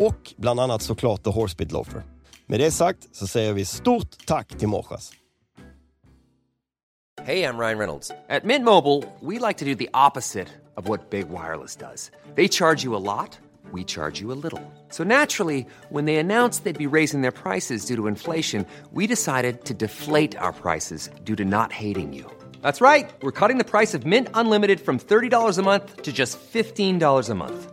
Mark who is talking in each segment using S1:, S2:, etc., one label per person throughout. S1: Och bland annat såklart The Horsebit Loafer. Med det sagt så säger vi stort tack till Morsas.
S2: Hey, I'm Ryan Reynolds. At Mint Mobile, we like to do the opposite of what Big Wireless does. They charge you a lot, we charge you a little. So naturally, when they announced they'd be raising their prices due to inflation, we decided to deflate our prices due to not hating you. That's right. We're cutting the price of Mint Unlimited from $30 a month to just $15 a month.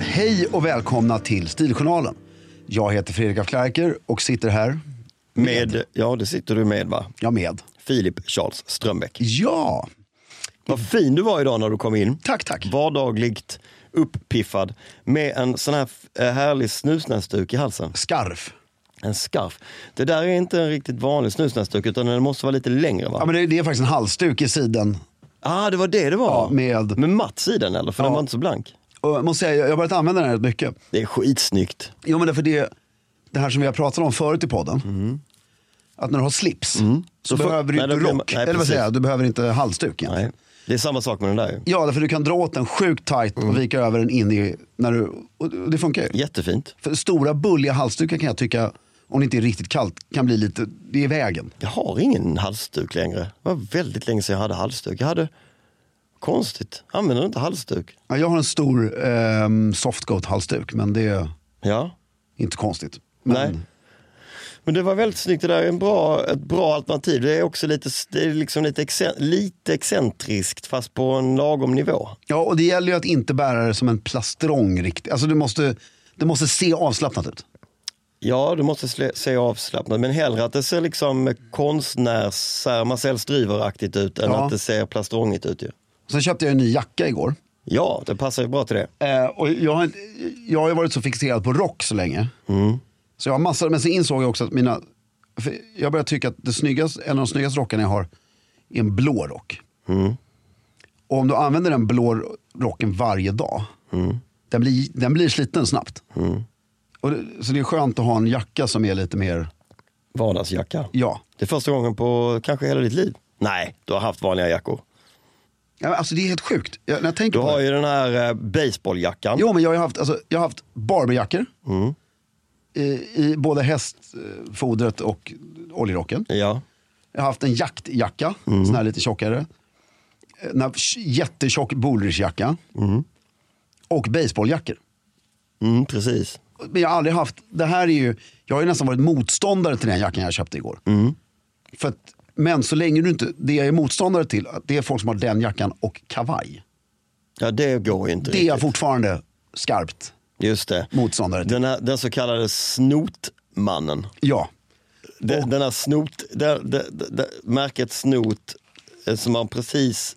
S3: Hej och välkomna till Stiljournalen. Jag heter Fredrik af Klerker och sitter här,
S1: Med, ja det sitter du med va?
S3: jag med.
S1: Filip Charles Strömbäck.
S3: Ja,
S1: Vad fin du var idag när du kom in.
S3: tack tack.
S1: Vardagligt uppiffad med en sån här f- härlig snusnäsduk i halsen.
S3: Skarf.
S1: En skarf. Det där är inte en riktigt vanlig snusnäsduk utan den måste vara lite längre va?
S3: Ja, men det, det är faktiskt en halsduk i sidan.
S1: ah, det var det det var.
S3: Ja, med-
S1: med matt i den eller? För den var inte så blank.
S3: Och jag måste säga, jag jag har börjat använda den här rätt mycket.
S1: Det är skitsnyggt.
S3: Jo men därför det, det här som vi har pratat om förut i podden. Att när du har slips så,
S1: Mm. Så för-
S3: behöver du
S1: nej,
S3: inte
S1: då blir man-
S3: rock.
S1: nej,
S3: Eller vad
S1: precis.
S3: säger jag, du behöver inte halsduk egentligen.
S1: Nej. Det är samma sak med den där ju.
S3: Ja, därför du kan dra åt den sjukt tajt
S1: Mm.
S3: och vika över den in i, när du, och det funkar ju.
S1: Jättefint.
S3: För stora bulliga halsdukar kan jag tycka, om det inte är riktigt kallt, kan bli lite, det är i vägen.
S1: Jag har ingen halsduk längre. Det var väldigt länge sedan jag hade halsduk. Jag hade... Konstigt. Använder du inte halsduk?
S3: Ja, jag har en stor ehm, softcoat halsduk, men det är
S1: Ja.
S3: inte konstigt. Men,
S1: Nej. Men det var väldigt snyggt, det där är en bra, ett bra alternativ. Det är också lite, det är liksom lite, exce- lite excentriskt fast på en lagom nivå.
S3: Ja, och det gäller ju att inte bära det som en plastrong riktigt. Alltså du måste, det måste se avslappnat ut.
S1: Ja, du måste sle- se avslappnat, men hellre att det ser liksom konstnärs, så här Marcel Stryver-aktigt ut än
S3: Ja.
S1: att det ser plastrongigt ut. Ju.
S3: Sen köpte jag en ny jacka igår.
S1: Ja, det passar ju bra till det.
S3: Eh, och jag, har,
S1: Mm.
S3: jag har ju varit så fixerad på rock så länge. Så jag har massor, men sen insåg jag också att mina för jag börjar tycka att det snyggaste, en av de snyggaste rockarna jag har är en blå rock.
S1: Mm.
S3: Och om du använder den blå rocken varje dag,
S1: Mm.
S3: den, blir, den blir sliten snabbt. Och det, så det är skönt att ha en jacka som är lite mer,
S1: Vardagsjacka.
S3: ja.
S1: Det är första gången på kanske hela ditt liv. Nej, du har haft vanliga jackor.
S3: ja men alltså det är helt sjukt. Jag, när jag tänker
S1: Du
S3: på det.
S1: har ju den här eh, baseballjackan.
S3: Jo, men jag har ju haft, alltså, jag har haft Barbiejackor. I, I både hästfodret och oljerocken.
S1: Ja.
S3: Jag har haft en jaktjacka, sån här lite tjockare. En jättetjock Bullrichjacka. Och baseballjackor.
S1: Mm, precis.
S3: Men jag har aldrig haft, det här är ju, jag har ju nästan varit motståndare till den jackan jag köpte igår. För att, men så länge du inte, det jag är motståndare till, att det är folk som har den jackan och kavaj.
S1: Ja, det går ju inte
S3: Det är jag fortfarande skarpt
S1: Just det.
S3: motståndare till.
S1: Den, här, den så kallade snotmannen.
S3: Ja.
S1: Den, den här snot, det, det, det, det, märket snot eh, som har precis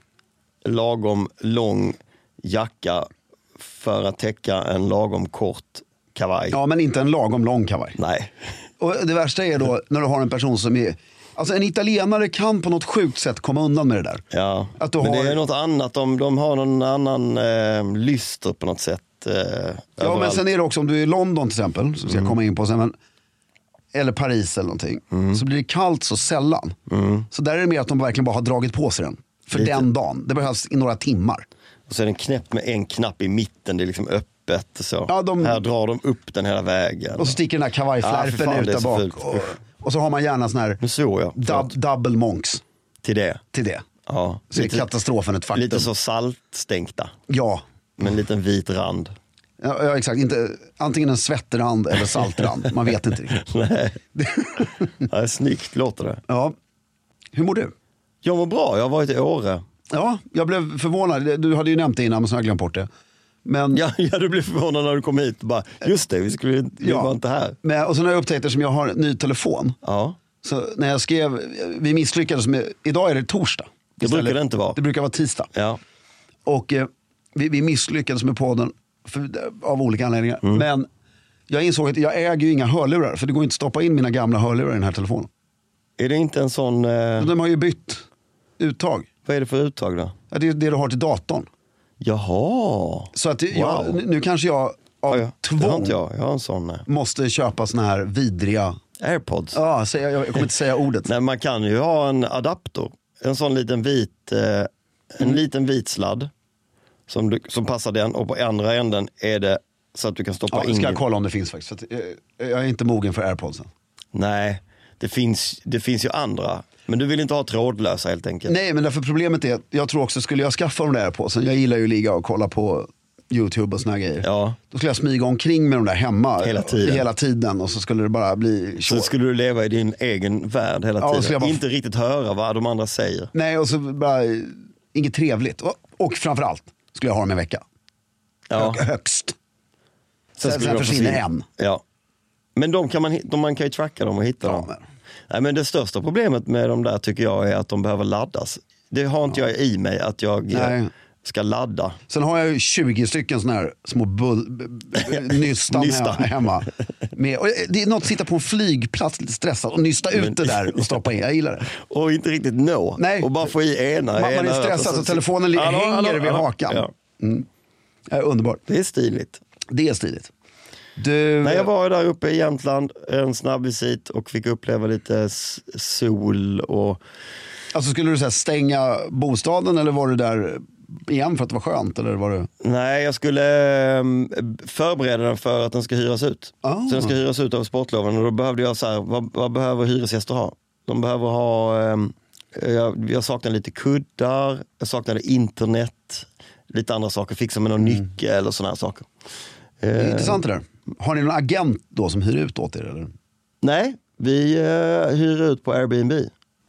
S1: lagom lång jacka för att täcka en lagom kort kavaj.
S3: ja, men inte en lagom lång kavaj.
S1: Nej.
S3: Och det värsta är då när du har en person som är... Alltså en italienare kan på något sjukt sätt komma undan med det där.
S1: Ja.
S3: Att du
S1: Men
S3: har-
S1: det är något annat, de, de har någon annan eh, lyster på något sätt. Eh,
S3: Ja, men
S1: överallt. Mm.
S3: sen är det också om du är i London till exempel, som ska komma in på sen, men, eller Paris eller någonting,
S1: Mm.
S3: så blir det kallt så sällan. Så där är det mer att de verkligen bara har dragit på sig den. För den dagen. Det behövs i några timmar.
S1: Och så är den knäpp med en knapp i mitten, det är liksom öppet. och Så.
S3: Ja, de-
S1: Här drar de upp den hela vägen.
S3: Och så sticker den här
S1: Ja, Ah, för
S3: kavajflärpen
S1: fan,
S3: ut
S1: det är
S3: där
S1: så
S3: bak.
S1: fult.
S3: Och, och så har man gärna sån här
S1: Nu såg jag.
S3: dub,
S1: Förlåt.
S3: double monks
S1: Till det.
S3: till det.
S1: Ja.
S3: Så är katastrofen ett faktum.
S1: lite så saltstänkta.
S3: Ja.
S1: Med
S3: Mm.
S1: en liten vit rand.
S3: Ja, ja, exakt. Inte, antingen en svettrand eller saltrand. Man vet inte riktigt.
S1: Nej. ja, snyggt låter det.
S3: Ja. Hur mår du?
S1: Jag mår bra, jag har varit i Åre.
S3: Ja, jag blev förvånad. Du hade ju nämnt det innan, men så har jag glömt bort det. Men,
S1: Ja, ja, du blev förvånad när du kom hit. Bara, just det, vi, skulle, vi
S3: Ja.
S1: var inte här.
S3: men, och sen har jag upptäckt, eftersom jag har en ny telefon,
S1: Ja.
S3: så när jag skrev, vi misslyckades med, idag är det torsdag.
S1: Det brukar det inte vara.
S3: Det brukar vara tisdag.
S1: Ja.
S3: Och eh, vi, vi misslyckades med podden för, av olika anledningar.
S1: Mm.
S3: Men jag insåg att jag äger ju inga hörlurar, för det går inte att stoppa in mina gamla hörlurar i den här telefonen.
S1: Är det inte en sån, eh,
S3: De har ju bytt uttag.
S1: vad är det för uttag då?
S3: Ja, det är det du har till datorn.
S1: Jaha.
S3: Så att jag,
S1: Wow.
S3: nu- nu kanske jag av
S1: Ja, ja. Det har
S3: tvång
S1: inte jag, jag har en sån. Nej.
S3: måste köpa såna här vidriga...
S1: Airpods.
S3: Ja, säga, jag jag kommer inte säga ordet.
S1: Nej, man kan ju ha en adapter. En sån liten vit, eh, en
S3: Mm.
S1: liten vit sladd som, du, som passar den och på andra änden är det så att du kan stoppa
S3: Ja,
S1: in.
S3: ska jag
S1: din-
S3: kolla om det finns faktiskt. För att, eh, jag är inte mogen för airpodsen.
S1: Nej, det finns, det finns ju andra. Men du vill inte ha trådlösa helt enkelt.
S3: Nej, men därför problemet är att jag tror också, skulle jag skaffa de där airpodsen, jag gillar ju att ligga och kolla på YouTube och såna här grejer.
S1: Ja.
S3: Då skulle jag smyga omkring med de där hemma
S1: Hela tiden.
S3: hela tiden och så skulle det bara bli
S1: Så
S3: tjå.
S1: skulle du leva i din egen värld hela
S3: Ja, och så
S1: tiden.
S3: jag bara-
S1: Inte riktigt höra vad de andra säger.
S3: Nej, och så bara, eh, inget trevligt. Och, och framförallt skulle jag ha dem en vecka.
S1: Ja.
S3: Hö- Högst. Sen, sen,
S1: skulle de
S3: försvinner en.
S1: Ja. Men de kan man, hi- de, man kan ju tracka dem och hitta
S3: Ja,
S1: dem.
S3: men-
S1: Nej, men det största problemet med de där tycker jag är att de behöver laddas. Det har inte jag i mig att jag eh,
S3: Nej.
S1: ska ladda.
S3: Sen har jag ju 20 stycken sådana här små bull, b- b- nystan,
S1: Nystan.
S3: Hemma, hemma. Med, och eh, det är något att sitta på en flygplats lite stressad och nysta ut
S1: Men-
S3: det där och stoppa in. Jag gillar det.
S1: Och inte riktigt nå.
S3: Nej.
S1: Och bara få i ena.
S3: Man- man är
S1: ena örat
S3: stressad
S1: och
S3: så telefonen li-
S1: Hallå,
S3: hänger
S1: hallå,
S3: vid
S1: hallå.
S3: hakan. Mm.
S1: Ja.
S3: Ja, underbart.
S1: Det är stiligt.
S3: Det är stiligt. Du,
S1: Nej, jag var ju där uppe i Jämtland en snabb visit och fick uppleva lite s- sol och
S3: alltså, skulle du så här, stänga bostaden eller var du där igen för att det var skönt? Eller var du...
S1: Nej, jag skulle ehm, förbereda den för att den ska hyras ut.
S3: Ah.
S1: Så den ska hyras ut av sportloven och då behövde jag så här, vad, vad behöver hyresgäster ha? De behöver ha, ehm, jag, jag saknade lite kuddar, jag saknade internet, lite andra saker, fixa med någon nyckel och sådana här saker. Eh,
S3: Det är intressant det där. Har ni någon agent då som hyr ut åt er? Eller?
S1: Nej, vi eh, hyr ut på Airbnb.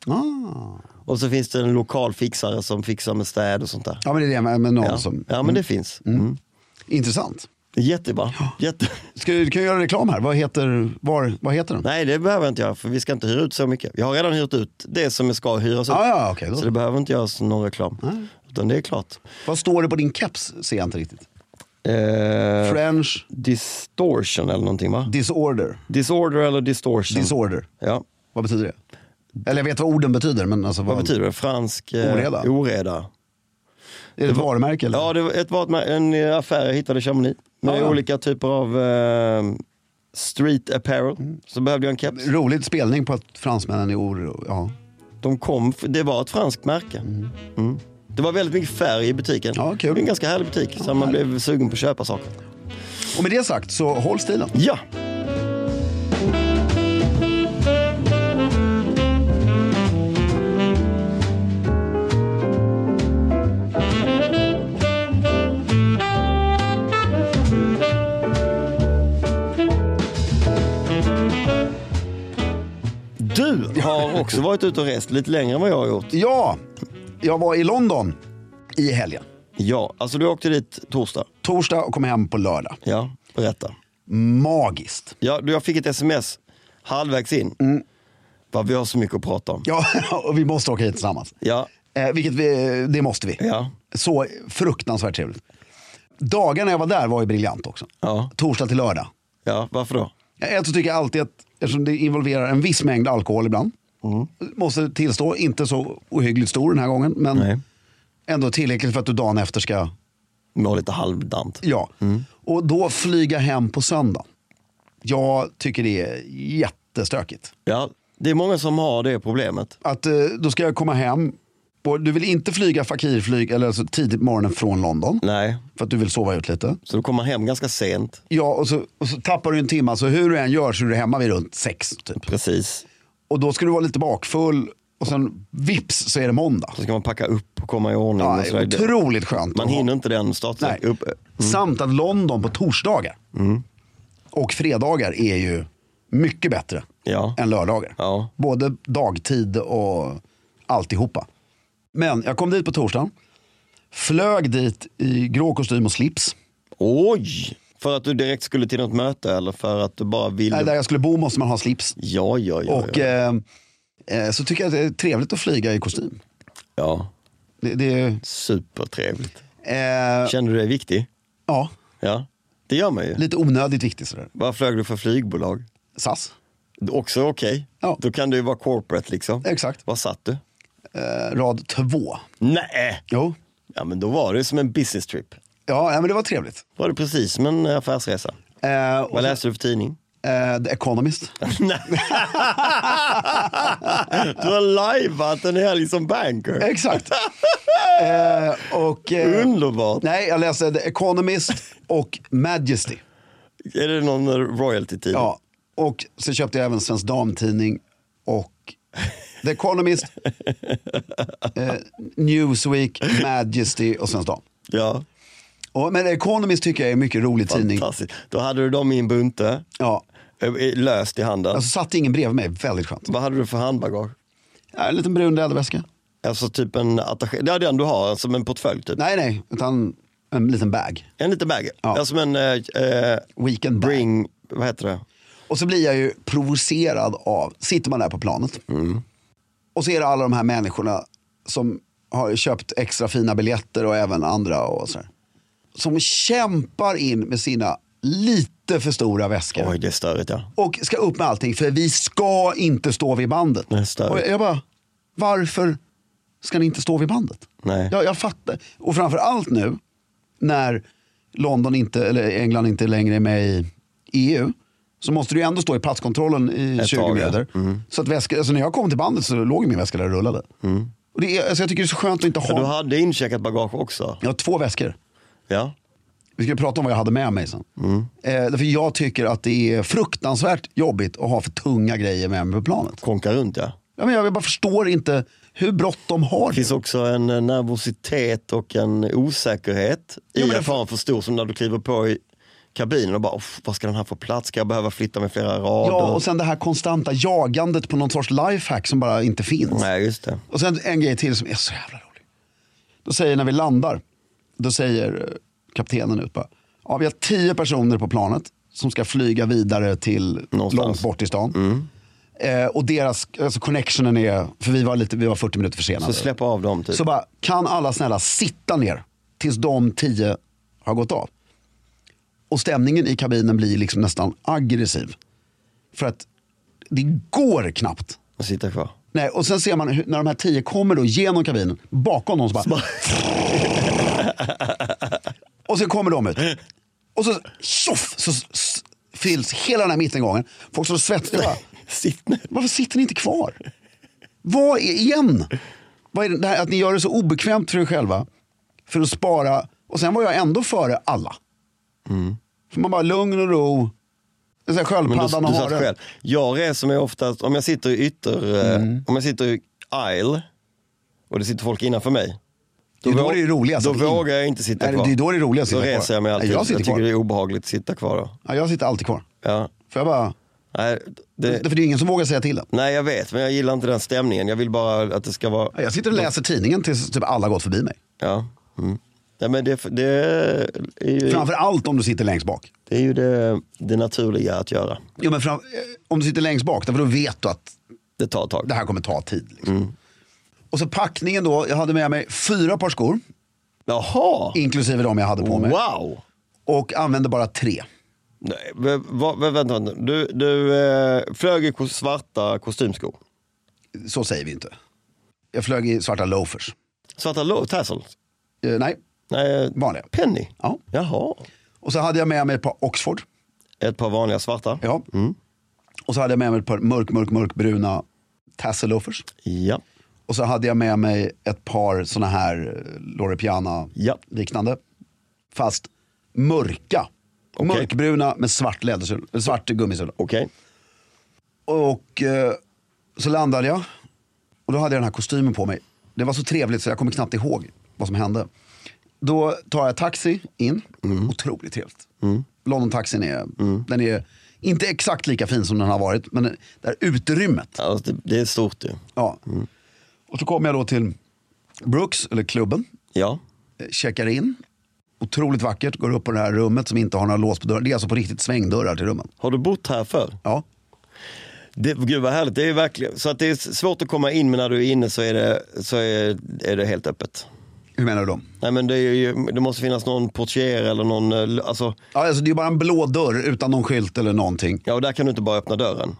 S3: Ah.
S1: Och så finns det en lokal fixare som fixar med städ och sånt där.
S3: Ja, men det är det med, med någon
S1: Ja,
S3: som...
S1: ja men det finns. Mm.
S3: Intressant.
S1: Jättebra. Jätte...
S3: Ska, du kan jag göra reklam här. Vad heter, var, vad heter den?
S1: Nej, det behöver jag inte göra för vi ska inte hyra ut så mycket. Jag har redan hyrt ut det som ska hyras ut.
S3: Ah, ja, okej, då.
S1: så det behöver inte göras någon reklam. Utan det är klart.
S3: Vad står det på din keps ser jag inte riktigt.
S1: Eh,
S3: French
S1: distortion eller någonting va? Mm.
S3: disorder.
S1: Disorder eller distortion?
S3: Disorder.
S1: Ja.
S3: Vad betyder det? Eller jag vet vad orden betyder. Men alltså,
S1: Vad betyder det? Fransk eh,
S3: Oreda.
S1: oreda.
S3: Är det ett varumärke? Eller?
S1: Ja, det var ett, var en eh, affär jag hittade i Chamonix med
S3: Ja, ja.
S1: olika typer av eh, street apparel.
S3: Mm.
S1: Så behövde jag en keps.
S3: Rolig spelning på att fransmännen är oro. Ja.
S1: De kom, f- det var ett franskt märke. Mm. Det var väldigt mycket färg i butiken.
S3: Ja, kul.
S1: Det är en ganska härlig butik, så man blev sugen på att köpa saker.
S3: Och med det sagt så håll stilen.
S1: Ja, du har också varit ute och rest lite längre än vad jag har gjort.
S3: Ja, jag var i London i helgen.
S1: Ja, alltså du åkte dit torsdag.
S3: Torsdag och kom hem på lördag.
S1: Ja, berätta.
S3: Magiskt.
S1: Ja, du, jag fick ett sms halvvägs in. Vad vi har så mycket att prata om.
S3: Ja, och vi måste åka hit tillsammans.
S1: Ja,
S3: Eh, vilket vi, det måste vi.
S1: Ja.
S3: Så fruktansvärt trevligt. Dagarna jag var där var ju briljant också.
S1: Ja.
S3: Torsdag till lördag.
S1: ja varför då?
S3: Ett så tycker jag alltid att, eftersom det involverar en viss mängd alkohol ibland, måste tillstå, inte så ohyggligt stor den här gången, men
S1: Nej.
S3: ändå tillräckligt för att du dagen efter ska,
S1: Mår lite halvdant.
S3: ja. Och då flyga hem på söndag. Jag tycker det är jättestökigt.
S1: Ja, det är många som har det problemet.
S3: att eh, då ska jag komma hem. Och du vill inte flyga fakirflyg eller alltså tidigt på morgonen från London.
S1: Nej,
S3: För att du vill sova ut lite.
S1: så du kommer hem ganska sent.
S3: Ja, och så, och så tappar du en timme. Så hur du än gör så är du hemma vid runt sex. Typ.
S1: Precis.
S3: Och då ska du vara lite bakfull. Och sen vips så är det måndag.
S1: Så ska man packa upp och komma i ordning.
S3: Ja,
S1: och sådär. Det-
S3: otroligt skönt.
S1: Man
S3: att ha.
S1: hinner inte den starten.
S3: Nej.
S1: Upp. eh, mm.
S3: Samt att London på torsdagar och fredagar är ju mycket bättre
S1: Ja.
S3: än lördagar.
S1: Ja.
S3: Både dagtid och alltihopa. Men jag kom dit på torsdagen. Flög dit i grå kostym och slips.
S1: Oj! För att du direkt skulle till något möte eller för att du bara ville...
S3: Nej, Äh, där jag skulle bo måste man ha slips.
S1: Ja, ja, ja.
S3: Och
S1: ja.
S3: eh, eh, så tycker jag att det är trevligt att flyga i kostym.
S1: ja.
S3: Det, det,
S1: Supertrevligt.
S3: eh,
S1: Kände du dig viktig?
S3: ja,
S1: Ja, det gör man ju.
S3: lite onödigt viktigt sådär.
S1: Vad flög du för flygbolag?
S3: SAS,
S1: Också okej.
S3: Ja.
S1: Då kan du ju vara corporate liksom.
S3: Exakt.
S1: Var satt du?
S3: eh, rad två.
S1: Nej.
S3: Jo,
S1: Ja, men då var det som en business trip.
S3: ja, nej, men det var trevligt.
S1: Var det precis som en affärsresa.
S3: Eh, och
S1: Vad
S3: så-
S1: läste du för tidning?
S3: eh, The Economist.
S1: Nej. du har lajvat en helg som banker.
S3: Exakt. eh, och, eh,
S1: Underbart.
S3: Nej, jag läste The Economist och Majesty.
S1: Är det någon royalty-tidning?
S3: Ja. Och så köpte jag även Svensk Damtidning och The Economist, eh, Newsweek, Majesty och Svensk Dam.
S1: ja.
S3: Och, men The Economist tycker jag är en mycket rolig tidning.
S1: Fantastiskt. Då hade du dem i en bunte,
S3: Ja.
S1: eh, löst i handen.
S3: Alltså satt ingen bredvid mig, väldigt skönt.
S1: Vad hade du för handbagage?
S3: Ja, en liten brun läderväska.
S1: Alltså typ en attaché, det är den du har, som en portfölj typ.
S3: Nej, nej, utan en liten bag.
S1: En liten bag.
S3: Ja.
S1: Ja. Som en eh, eh,
S3: Weekend bag.
S1: bring, vad heter det?
S3: Och så blir jag ju provocerad av, sitter man där på planet
S1: Mm.
S3: och så är det alla de här människorna som har köpt extra fina biljetter och även andra och så här, Som kämpar in med sina lite för stora väskor.
S1: Oj, det är störigt ja.
S3: Och ska upp med allting för vi ska inte stå vid bandet.
S1: Nej, störigt.
S3: Och jag bara, varför ska ni inte stå vid bandet?
S1: Nej.
S3: Jag, jag fattar. Och framför allt nu när London inte, eller England inte längre är med i EU. Så måste du ju ändå stå i platskontrollen i
S1: Ett
S3: 20
S1: tag, ja. Mm.
S3: meter. Så att väska, alltså när jag kom till bandet så låg min väska där och rullade. Och det är, alltså jag tycker det är så skönt att inte
S1: Ja,
S3: ha.
S1: Mm. du hade incheckat bagage också.
S3: Jag har två väskor.
S1: Ja.
S3: Vi ska prata om vad jag hade med mig sen.
S1: Mm.
S3: Eh, därför jag tycker att det är fruktansvärt jobbigt att ha för tunga grejer med mig på planet.
S1: Konka runt ja.
S3: Ja, men jag bara förstår inte hur bråttom har
S1: Det
S3: det.
S1: finns också en eh, nervositet och en osäkerhet
S3: men
S1: i
S3: det-
S1: att ha en för stor som när du kliver på i kabinen och bara, "Uff, vad ska den här få plats? Ska jag behöva flytta mig flera rader?
S3: Ja, och sen det här konstanta jagandet på någon sorts lifehack som bara inte finns.
S1: Nej, just det.
S3: Och sen en grej till som är så jävla rolig. Då säger när vi landar, då säger eh, kaptenen ut bara, ja, vi har tio personer på planet som ska flyga vidare till
S1: Någonstans. Mm.
S3: långt bort i stan. Eh, och deras, alltså connectionen är, för vi var, lite, vi var 40 minuter försenade.
S1: Så släpp av dem typ.
S3: Så bara, kan alla snälla sitta ner tills de tio har gått av? Och stämningen i kabinen blir liksom nästan aggressiv. För att det går knappt
S1: Den sitter kvar.
S3: Nej, och sen ser man hur, när de här tio kommer då genom kabinen, bakom dem så bara... och sen kommer de ut. Och så tjoff så s- fylls hela den här mittengången. Folk står svettiga bara,
S1: Sitt nu.
S3: varför sitter ni inte kvar? Vad är, igen? Vad är det- det här, att ni gör det så obekvämt för er själva. För att spara. Och sen var jag ändå före alla. För man bara lugn och ro. Det är så här
S1: Mm. Men du,
S3: Sköldpaddan och
S1: du satt
S3: haren.
S1: själv. Jag reser mig oftast, om jag sitter i ytter, eh,
S3: Mm.
S1: om jag sitter i aisle och det sitter folk innanför mig.
S3: Det är då
S1: vå-
S3: det är roligast
S1: Då
S3: att in-
S1: vågar jag inte sitta
S3: Nej,
S1: kvar.
S3: det är då det är roligast att
S1: Då
S3: sitta kvar.
S1: reser jag mig alltid.
S3: Nej, jag
S1: jag,
S3: sitter
S1: tycker
S3: kvar.
S1: det är obehagligt att sitta kvar då.
S3: Ja, jag sitter alltid kvar.
S1: Ja.
S3: Får jag bara...
S1: Nej, det,
S3: För det är ingen som vågar säga till en.
S1: nej, jag vet, men jag gillar inte den stämningen. Jag vill bara att det ska vara...
S3: Jag sitter och läser tidningen tills typ alla gått förbi mig.
S1: Ja. Mm. Ja, men det, det, är ju,
S3: Framför allt om du sitter längst bak.
S1: det är ju det, det naturliga att göra.
S3: Jo, men fram, eh, om du sitter längst bak, därför då vet du att
S1: Det tar ett tag.
S3: det här kommer ta tid. Liksom. Och så packningen då, jag hade med mig fyra par skor,
S1: Jaha!
S3: inklusive de jag hade på mig.
S1: Wow!
S3: Och använde bara tre.
S1: Nej, v- va- va- vänta, vänta. Du, du eh, flög i ko- svarta kostymskor.
S3: Så säger vi inte. Jag flög i svarta loafers.
S1: Svarta lo- tassels?
S3: Eh, nej,
S1: Nej,
S3: vanliga.
S1: penny?
S3: Ja.
S1: Jaha.
S3: Och så hade jag med mig ett par Oxford.
S1: Ett par vanliga svarta?
S3: Ja. Och så hade jag med mig ett par mörk, mörk, mörkbruna tassel loafers.
S1: Ja.
S3: Och så hade jag med mig ett par såna här eh, Lore Piana
S1: Ja.
S3: liknande. Fast mörka.
S1: Okej.
S3: Mörkbruna med svart, lädersula, eller svart gummisula.
S1: Okej.
S3: Och eh, så landade jag. Och då hade jag den här kostymen på mig. Det var så trevligt så jag kommer knappt ihåg vad som hände. Då tar jag taxi in. Otroligt trevligt. London-taxin är, den är inte exakt lika fin som den har varit. Men det här utrymmet.
S1: Alltså, det, det är stort ju.
S3: Ja. Och så kommer jag då till Brooks, eller klubben.
S1: Ja.
S3: Eh, Checkar in. Otroligt vackert. Går upp på det här rummet som inte har några lås på dörren. Det är alltså på riktigt svängdörrar till rummen.
S1: Har du bott här förr?
S3: Ja.
S1: Det, gud vad härligt. Det är verkligen, så att det är svårt att komma in men när du är inne så är det, så är, är det helt öppet.
S3: Hur menar du då?
S1: Nej, men det, är ju, det måste finnas någon portier eller någon... eh, Alltså,
S3: Ja, alltså det är bara en blå dörr utan någon skylt eller någonting.
S1: ja, och där kan du inte bara öppna dörren.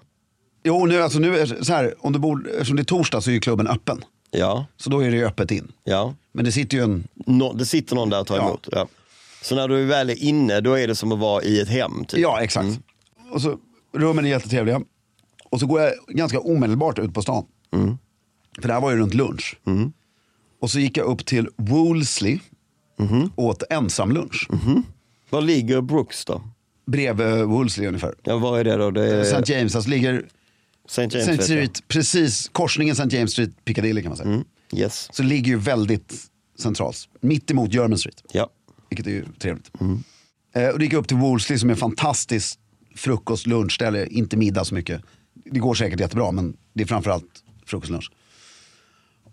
S3: Jo, nu, alltså nu är det så här, om du bor, eftersom det är torsdag så är ju klubben öppen.
S1: Ja,
S3: Så då är det ju öppet in.
S1: ja.
S3: Men det sitter ju en...
S1: Nå, det sitter någon där och tar
S3: Ja.
S1: emot. Ja. Så när du väl är inne, då är det som att vara i ett hem. Typ.
S3: Ja, exakt. Och så, rummen är jättetrevliga. Och så går jag ganska omedelbart ut på stan. För det här var ju runt lunch. Och så gick jag upp till Woolsley. Åt ensamlunch.
S1: Var ligger Brooks då?
S3: Bredvid Woolsley ungefär.
S1: Ja, var är det då? Det är
S3: St. James, alltså ligger
S1: St. Eh, James.
S3: St.
S1: vet jag.
S3: Street, precis korsningen St. James Street, Piccadilly kan man säga.
S1: Yes.
S3: Så ligger ju väldigt centralt. Mitt emot German Street.
S1: Ja.
S3: Vilket är ju trevligt. Eh, och då gick jag upp till Woolsley som är en fantastisk frukost, lunchställe, inte middag så mycket. Det går säkert jättebra men det är framförallt frukost, lunch.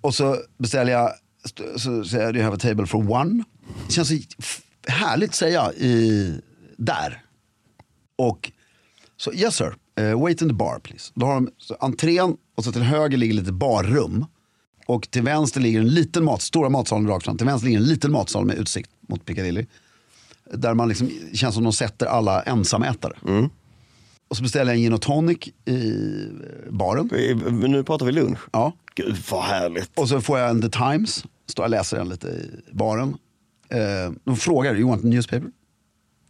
S3: Och så beställer jag, st- så säger jag, do you have a table for one? Det känns så f- härligt att säga i, där. Och så, yes sir, eh, wait in the bar please. Då har de så, entrén och så till höger ligger lite barrum. Och till vänster ligger en liten mat, stora matsalen rakt fram. Till vänster ligger en liten matsal med utsikt mot Piccadilly. Där man liksom, det känns som de sätter alla ensamätare. Och så beställer jag en gin och tonic i eh, baren.
S1: Vi- men Nu pratar vi lunch.
S3: Ja.
S1: Gud vad härligt.
S3: Och så får jag en The Times. Står jag och läser den lite i baren. Eh, de frågar, you want a newspaper?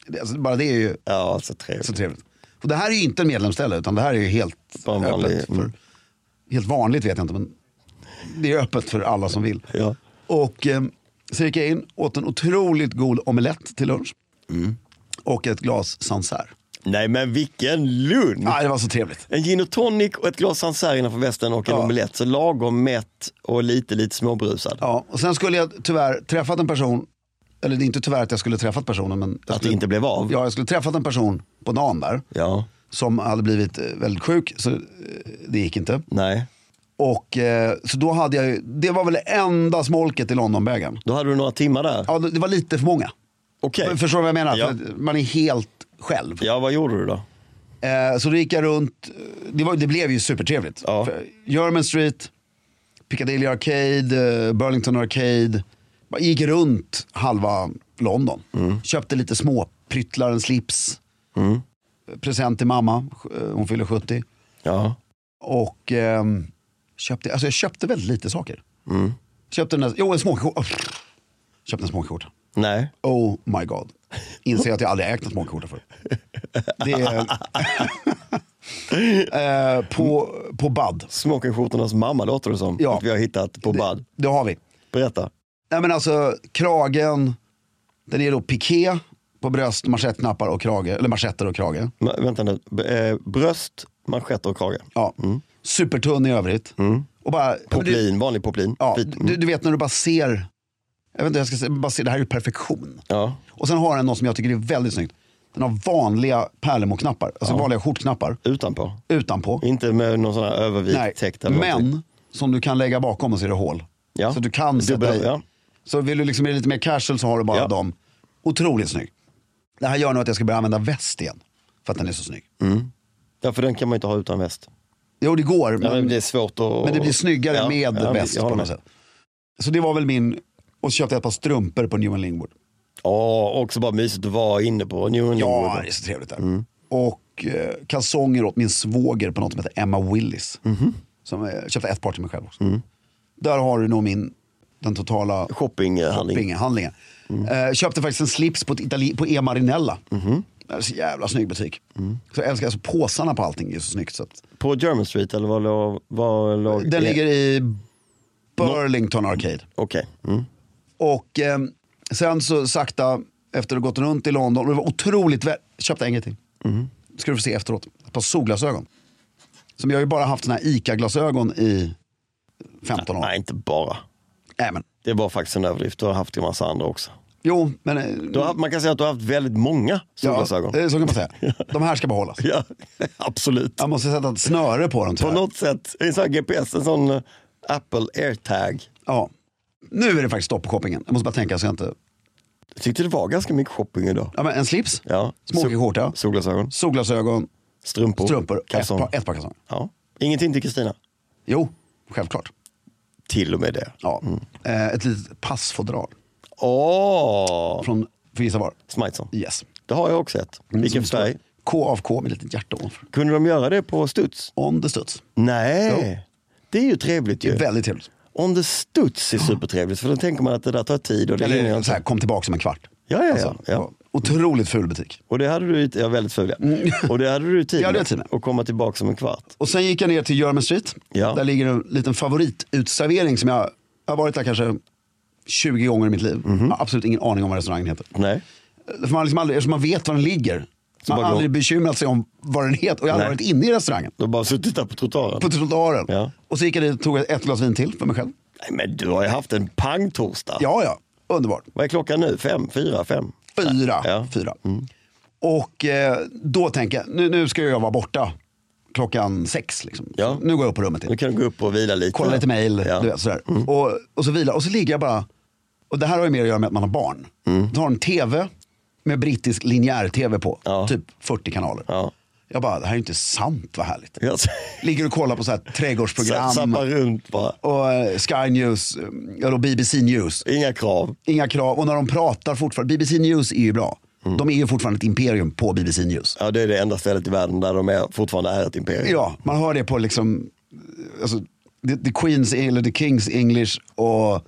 S3: Det, alltså, bara det är ju
S1: Ja, så trevligt.
S3: så trevligt. Och det här är ju inte en medlemsställe utan det här är ju helt
S1: Bara en vanlig-
S3: öppet. För,
S1: mm.
S3: Helt vanligt vet jag inte men det är öppet för alla som vill.
S1: Ja.
S3: Och eh, så gick jag in, åt en otroligt god omelett till lunch.
S1: Mm.
S3: Och ett glas Sancerre.
S1: Nej men vilken lunch!
S3: Nej, det var så trevligt.
S1: En gin och tonic och ett glas Sancerre innanför västen och en
S3: Ja.
S1: omelett. Så lagom mätt och lite, lite småbrusad.
S3: Ja, och sen skulle jag tyvärr träffat en person, eller det är inte tyvärr att jag skulle träffat personen men... jag
S1: Att det
S3: skulle,
S1: inte blev av.
S3: Ja, jag skulle träffat en person på dagen där
S1: Ja.
S3: som hade blivit eh, väldigt sjuk så eh, det gick inte.
S1: Nej.
S3: Och eh, så då hade jag ju, det var väl det enda smolket i Londonbägaren.
S1: Då hade du några timmar där.
S3: Ja, det det var lite för många.
S1: Okej.
S3: Förstår du vad jag menar?
S1: Ja.
S3: För att man är helt själv.
S1: Ja, vad gjorde du då?
S3: Eh, så då gick jag runt, eh, det, var, det blev ju supertrevligt.
S1: Ja.
S3: För German Street, Piccadilly Arcade, eh, Burlington Arcade. Bara gick runt halva London. Köpte lite små pryttlar, en slips. Present till mamma, eh, hon fyller 70.
S1: Ja.
S3: Och ehm, köpte, alltså jag köpte väldigt lite saker. Köpte den där, jo en smoking Köpte en smoking
S1: Nej.
S3: Oh my god. Inser att jag aldrig ägt en smoking förut. Det är... eh, på, på Bud.
S1: Smokingskjortornas mamma låter det som.
S3: Ja.
S1: Att vi har hittat på Bud.
S3: Det har vi.
S1: Berätta.
S3: Nej men alltså kragen, den är då piké på bröst, manschettknappar och krage. Eller manschetter och krage.
S1: Ma- vänta nu. B- eh, bröst, manschetter och krage.
S3: Ja. Supertunn i övrigt. Och bara, du,
S1: Poplin, vanlig poplin.
S3: ja,
S1: Vit.
S3: du, du vet när du bara ser, jag vet inte hur jag ska säga, bara ser, det här är ju perfektion.
S1: Ja.
S3: Och sen har den något som jag tycker är väldigt snyggt. Den har vanliga pärlemorknappar, alltså vanliga skjortknappar
S1: Utanpå.
S3: utanpå.
S1: Inte med någon sån här övervikt täckt. eller någonting.
S3: men som du kan lägga bakom och så är det hål.
S1: Ja.
S3: Så du kan sätta
S1: Dubbel-
S3: i.
S1: ja.
S3: Så vill du liksom är lite mer casual så har du bara
S1: Ja.
S3: dem. Otroligt snygg. Det här gör nog att jag ska börja använda väst igen. För att den är så snygg.
S1: Ja, för den kan man inte ha utan väst.
S3: Jo det går,
S1: Ja, men
S3: men,
S1: det är svårt att...
S3: men det blir snyggare
S1: Ja,
S3: med
S1: ja,
S3: väst
S1: jag
S3: på
S1: håller
S3: något
S1: med.
S3: sätt. Så det var väl min, och så köpte jag ett par strumpor på Newman Lingwood.
S1: Ja, också bara mysigt att vara inne på New England.
S3: Ja, det är så trevligt där.
S1: Mm.
S3: Och eh, kalsonger åt min svåger på något som heter Emma Willis.
S1: Mhm.
S3: Som eh, köpte ett par till mig själv också.
S1: Mm.
S3: Där har du nog min, den totala
S1: Shoppinghandling.
S3: shoppinghandlingen. Eh, köpte faktiskt en slips på, ett Itali- på E Marinella.
S1: Mhm.
S3: Det är så jävla snygg butik.
S1: Mm.
S3: Så jag älskar, alltså påsarna på allting är så snyggt. Så att,
S1: På German Street eller vad låg... Vad låg
S3: den
S1: eh,
S3: ligger i Burlington Arcade.
S1: Okej. Mm.
S3: Och eh, sen så sakta, efter att ha gått runt i London, och det var otroligt väl, köpte en grej till.
S1: Mm.
S3: Ska du få se efteråt. Ett par solglasögon. Som jag har ju bara haft såna här ICA-glasögon i 15 år.
S1: Nej, inte bara.
S3: Nej, men,
S1: Det var faktiskt en överdrift. Du har haft en massa andra också.
S3: jo, men... eh,
S1: Du har, haft- man kan säga att du har haft väldigt många solglasögon.
S3: Ja, eh, så kan man säga. De här ska behållas.
S1: Ja, absolut.
S3: Jag måste sätta ett snöre på dem
S1: På
S3: tyvärr.
S1: något sätt, en sån här GPS, en sån eh, Apple AirTag.
S3: Ja. Nu är det faktiskt stopp på shoppingen. Jag måste bara tänka så jag inte...
S1: Jag tyckte det var ganska mycket shopping idag.
S3: Ja, men en slips,
S1: Ja.
S3: Smokingskjorta.
S1: Sol- Solglasögon,
S3: solglasögon,
S1: strumpor,
S3: strumpor, ett
S1: kalsonger.
S3: par, ett par kalsonger.
S1: Ja. Ingenting till Kristina.
S3: Jo, självklart.
S1: Till och med det.
S3: Ja. Eh, ett litet passfodral.
S1: Åh!
S3: Från, för gissa var?
S1: Smiteson.
S3: Yes.
S1: Det har jag också ett.
S3: Mm.
S1: Vilken
S3: Som
S1: färg?
S3: står K av K med ett litet hjärta ovanför.
S1: Kunde de göra det på studs?
S3: On the studs.
S1: Nej. Det är ju trevligt ju.
S3: Väldigt trevligt.
S1: On the studs är supertrevligt för då tänker man att det där tar tid och det hinner jag
S3: Eller
S1: inte.
S3: så här, kom tillbaka om en kvart.
S1: Ja, ja, ja. ja.
S3: Ja. Otroligt ful butik.
S1: Och det hade du, ja, väldigt ful, ja. Och det hade du tid
S3: Mm. Ja, det
S1: med.
S3: är tid med.
S1: Och komma tillbaka om en kvart.
S3: Och sen gick jag ner till German Street.
S1: Ja.
S3: Där ligger en liten favoritutservering som jag, jag har varit där kanske 20 gånger i mitt liv.
S1: Mhm.
S3: Jag har absolut ingen aning om vad restaurangen heter.
S1: Nej.
S3: För man, har liksom aldrig, eftersom man vet var den ligger.
S1: Så
S3: man
S1: bara
S3: har
S1: gå-
S3: aldrig bekymrat sig om vad den heter. Och jag har aldrig
S1: Nej.
S3: varit inne i restaurangen.
S1: Du har bara suttit där på trottoaren.
S3: På trottoaren.
S1: Ja.
S3: Och så gick jag dit och tog ett glas vin till för mig själv.
S1: Nej, men du har ju haft en pangtorsdag.
S3: Ja, ja. Underbart.
S1: Vad är klockan nu? Fem, fyra, fem?
S3: Fyra.
S1: Ja. Mm.
S3: Fyra. Och eh, då tänker jag, nu, nu ska jag vara borta klockan sex. Liksom.
S1: Ja.
S3: Nu går jag upp på rummet. igen.
S1: Nu kan du gå upp och vila lite.
S3: kolla lite mail,
S1: Ja. Mm.
S3: du vet, sådär. Och, och så vila. Och så ligger jag bara, och det här har ju mer att göra med att man har barn.
S1: Mm.
S3: Du har en tv med brittisk linjär-tv på,
S1: Ja.
S3: typ 40 kanaler.
S1: Ja.
S3: Jag bara, det här är ju inte sant vad härligt.
S1: Ja, så-
S3: Ligger och kollar på så här trädgårdsprogram
S1: Zappa runt bara.
S3: och eh, Sky News, eh, eller BBC News.
S1: Inga krav.
S3: Inga krav, och när de pratar fortfarande, BBC News är ju bra.
S1: Mm.
S3: De är ju fortfarande ett imperium på BBC News.
S1: Ja, det är det enda stället i världen där de är, fortfarande är ett imperium.
S3: Ja, man hör det på liksom, alltså, the, the Queens, eller the Kings English och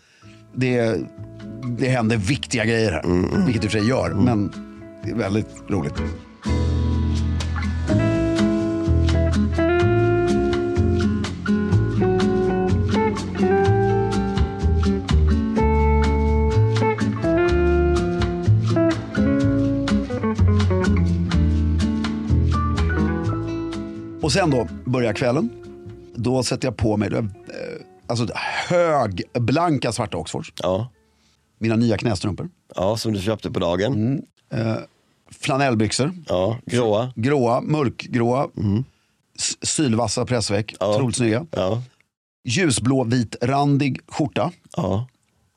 S3: det, det händer viktiga grejer här. Vilket det i och för sig gör, men det är väldigt roligt. Och sen då börjar kvällen. Då sätter jag på mig då, eh, alltså, högblanka svarta Oxfords.
S1: Ja.
S3: Mina nya knästrumpor.
S1: ja, som du köpte på dagen.
S3: Mm. Flanellbyxor.
S1: Ja, gråa.
S3: Gråa, mörkgråa. s- Sylvassa pressveck.
S1: Ja.
S3: Otroligt snygga.
S1: Ja.
S3: Ljusblå, vit, randig skjorta.
S1: Ja.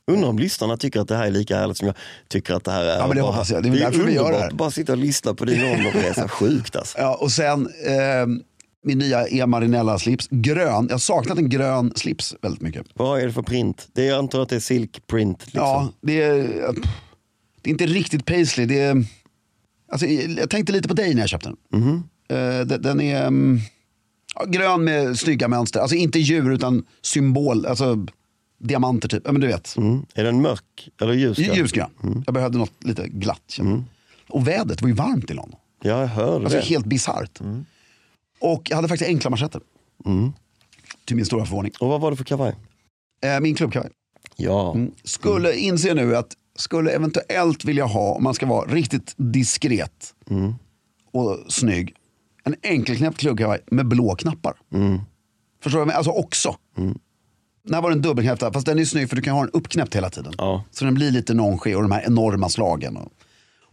S1: Undrar om lyssnarna tycker att det här är lika härligt som jag tycker att det här är.
S3: Ja, men det
S1: Bara-
S3: hoppas jag. Det är väl därför vi gör det
S1: underbart.
S3: här.
S1: Bara sitta och lyssna på din Londonresa. Sjukt alltså.
S3: Ja, och sen eh, min nya E. Marinella-slips. Grön. Jag har saknat en grön slips väldigt mycket.
S1: Vad är det för print? Det, jag antar att det är silkprint. Liksom.
S3: Ja, det är, eh, pff, det är inte riktigt paisley. Det är, alltså, jag tänkte lite på dig när jag köpte den. Eh, de- den är... mm, Ja, grön med snygga mönster. Alltså inte djur utan symbol, alltså diamanter typ. Ja, men du vet.
S1: Mm. Är den mörk eller ljus?
S3: Ljusgrön. Jag behövde något lite glatt. kände jag. Och vädret var ju varmt i London.
S1: Ja, jag hör
S3: Alltså
S1: det.
S3: helt bisarrt. Och jag hade faktiskt enkla manschetter. Till min stora förvåning.
S1: Och vad var det för kavaj?
S3: Eh, min klubbkavaj.
S1: Ja,
S3: Mm. Skulle inse nu att skulle eventuellt vilja ha, om man ska vara riktigt diskret och snygg, en enkelknäppt klubbkavaj med blå knappar. Förstår du? vad jag menar? Alltså också. Den här var den dubbelknäppta, fast den är ju snygg för du kan ha den uppknäppt hela tiden.
S1: Ja.
S3: Så den blir lite nonché och de här enorma slagen. Och,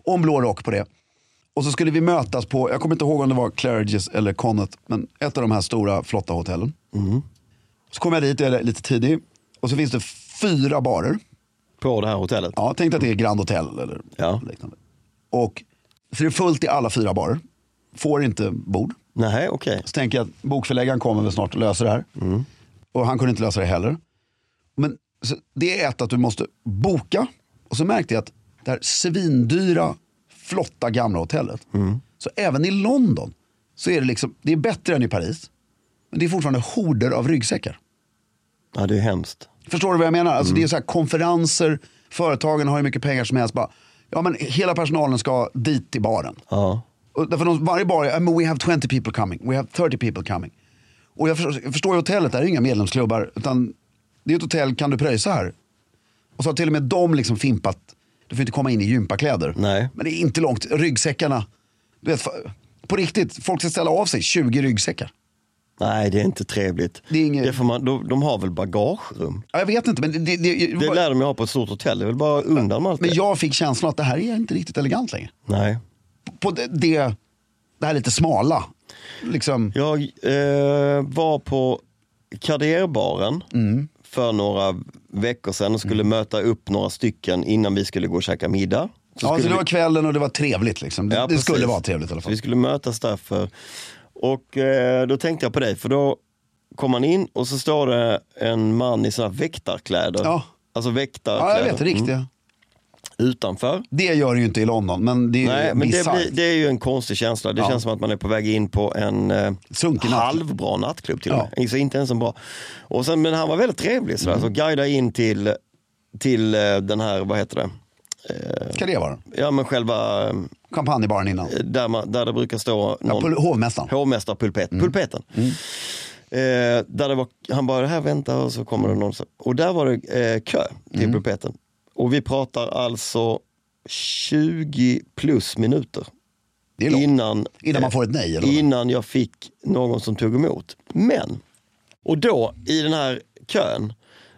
S3: och en blå rock på det. Och så skulle vi mötas på, jag kommer inte ihåg om det var Claridges eller Connaught, men ett av de här stora flotta hotellen. Så kom jag dit, jag är lite tidig. Och så finns det fyra barer.
S1: på det här hotellet.
S3: Ja, tänk dig att det är Grand Hotel eller
S1: Ja.
S3: liknande. Och så det är fullt i alla fyra barer. Får inte bord.
S1: Nej, okej.
S3: Så tänker jag att bokförläggaren kommer väl snart och löser det här. Och han kunde inte lösa det heller. Men så det är ett att du måste boka. Och så märkte jag att det här svindyra, flotta gamla hotellet. Så även i London så är det liksom, det är bättre än i Paris. Men det är fortfarande horder av ryggsäckar.
S1: Ja, det är hemskt.
S3: Förstår du vad jag menar? Alltså Det är så här konferenser, företagen har hur mycket pengar som helst. Bara, ja, men hela personalen ska dit till baren.
S1: Ja.
S3: Och därför de, varje bar är, "I mean, we have 20 people coming, we have 30 people coming. Och jag förstår, jag förstår ju hotellet, där är ju inga medlemsklubbar. Utan det är ett hotell, kan du pröjsa här? Och så har till och med de liksom fimpat, du får inte komma in i gympakläder.
S1: Nej.
S3: Men det är inte långt, ryggsäckarna. Du vet, fa- på riktigt, folk ska ställa av sig 20 ryggsäckar.
S1: Nej, det är inte trevligt.
S3: Det är inget-
S1: får man, de, de har väl bagagerum?
S3: Ja, jag vet inte, men det, det, det,
S1: Det lär de ju ha på ett stort hotell. Det är väl bara undan med allt
S3: men
S1: det.
S3: jag fick känslan att det här är inte riktigt elegant längre.
S1: Nej.
S3: på det, det, det här lite smala. Liksom,
S1: Jag eh, var på Karderbaren
S3: Mm.
S1: för några veckor sedan och skulle möta upp några stycken innan vi skulle gå och käka middag. Så
S3: ja,
S1: skulle
S3: så det
S1: vi-
S3: var kvällen och det var trevligt. Liksom. Det,
S1: Ja,
S3: det
S1: precis.
S3: skulle vara trevligt i alla
S1: Så
S3: fall.
S1: vi skulle mötas därför. Och eh, då tänkte jag på dig, för då kom man in och så står det en man i såna här väktarkläder.
S3: Ja.
S1: Alltså
S3: Ja,
S1: väktarkläder.
S3: jag vet,
S1: Mm.
S3: riktiga.
S1: Utanför.
S3: Det gör det ju inte i London, men det är
S1: Nej, men det,
S3: bisarrt.
S1: blir, det är ju en konstig känsla. Det
S3: Ja.
S1: känns som att man är på väg in på en eh,
S3: Sunkig nattklubb.
S1: halvbra nattklubb till och
S3: Ja. Mm.
S1: med. Alltså, inte ens en bra. Och sen, men han var väldigt trevlig, sådär. så guida in till, till eh, den här, vad heter det? Eh,
S3: Ska det vara?
S1: Ja men själva, eh,
S3: Champagnebaren innan.
S1: där, man, där det brukar stå
S3: Ja, Mm.
S1: någon,
S3: på hovmästaren.
S1: hovmästarpulpet, pulpeten. Eh, där det var, han bara, här vänta och så kommer det någon. så- Och där var det eh, kö till
S3: Mm.
S1: pulpeten. Och vi pratar alltså 20 plus minuter.
S3: Det är långt.
S1: Innan,
S3: Innan man
S1: eh,
S3: får ett nej, eller vad?
S1: Innan jag fick någon som tog emot. Men, och då i den här kön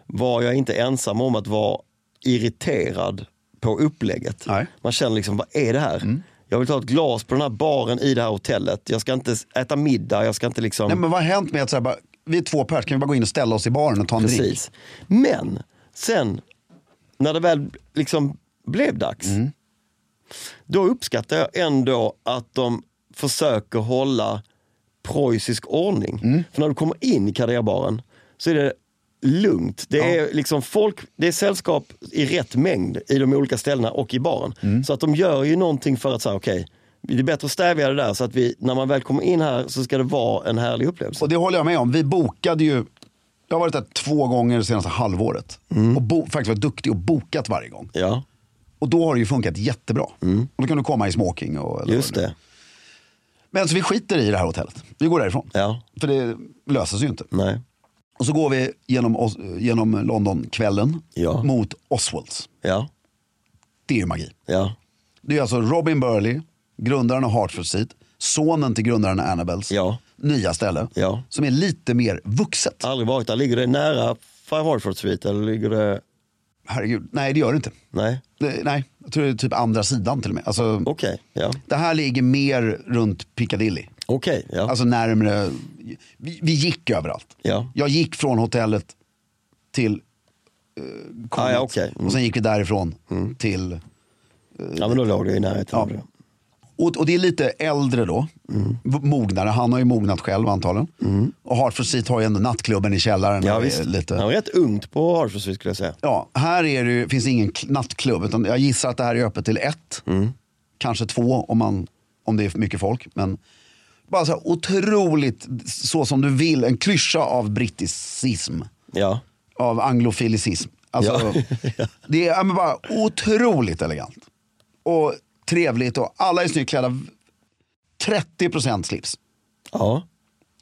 S1: var jag inte ensam om att vara irriterad på upplägget.
S3: Nej. Mm.
S1: Man känner liksom, vad är det här? Jag vill ta ett glas på den här baren i det här hotellet. Jag ska inte äta middag, jag ska inte liksom...
S3: Nej, men vad har hänt med att så här, bara, vi är två pers, kan vi bara gå in och ställa oss i baren och ta en drink?
S1: Precis. Men sen, när det väl liksom blev dags, då uppskattar jag ändå att de försöker hålla preussisk ordning. För när du kommer in i karriärbaren så är det lugnt. Det är liksom folk, det är sällskap i rätt mängd i de olika ställena och i baren. Så att de gör ju någonting för att säga okej, det är bättre att stävja det där så att vi, när man väl kommer in här så ska det vara en härlig upplevelse.
S3: Och det håller jag med om. Vi bokade ju, jag har varit där två gånger det senaste halvåret.
S1: Mm.
S3: Och bo, faktiskt varit duktig och bokat varje gång.
S1: Ja,
S3: Och då har det ju funkat jättebra. Och då kan du komma i smoking och eller
S1: Mm. just
S3: vad nu är.
S1: det.
S3: Men så vi skiter i det här hotellet. Vi går därifrån.
S1: Ja.
S3: För det löser sig ju inte.
S1: Nej.
S3: Och så går vi genom, Os- genom Londonkvällen
S1: Ja.
S3: mot Oswalds.
S1: Ja.
S3: Det är ju magi.
S1: Ja,
S3: Det är alltså Robin Burley, grundaren av Hartford Seat, sonen till grundaren av Annabels
S1: Ja.
S3: nya ställe.
S1: Ja.
S3: Som är lite mer vuxet.
S1: aldrig varit där. Ligger det nära Five Hartford Suite eller ligger det...
S3: Herregud, nej det gör det inte.
S1: Nej,
S3: Det, nej, jag tror det är typ andra sidan till och med. Alltså,
S1: okej. Ja.
S3: Det här ligger mer runt Piccadilly.
S1: Okej, ja.
S3: Alltså närmre, vi, vi gick överallt.
S1: Ja.
S3: Jag gick från hotellet till eh, Connaught.
S1: Ah, ja, okej. Mm.
S3: Och sen gick vi därifrån till
S1: ja, men då låg det i närheten. av det.
S3: Och, och det är lite äldre då. V- Mognare. Han har ju mognat själv antagligen. Och Hartford Seat har ju ändå nattklubben i källaren.
S1: Ja,
S3: och är
S1: visst.
S3: Lite.
S1: Han var rätt ungt på Hartford Suite skulle jag säga.
S3: Ja, här är det, ju- finns det ingen k- nattklubb. Utan jag gissar att
S1: Mm.
S3: det här är öppet till ett. Kanske två om, man, om det är mycket folk. Men Bara så här otroligt, så som du vill, en klyscha av britticism.
S1: Ja.
S3: Av anglofilicism. Alltså, det är ja, men bara otroligt elegant. Och trevligt och alla är snyggt klädda. 30% slips.
S1: ja.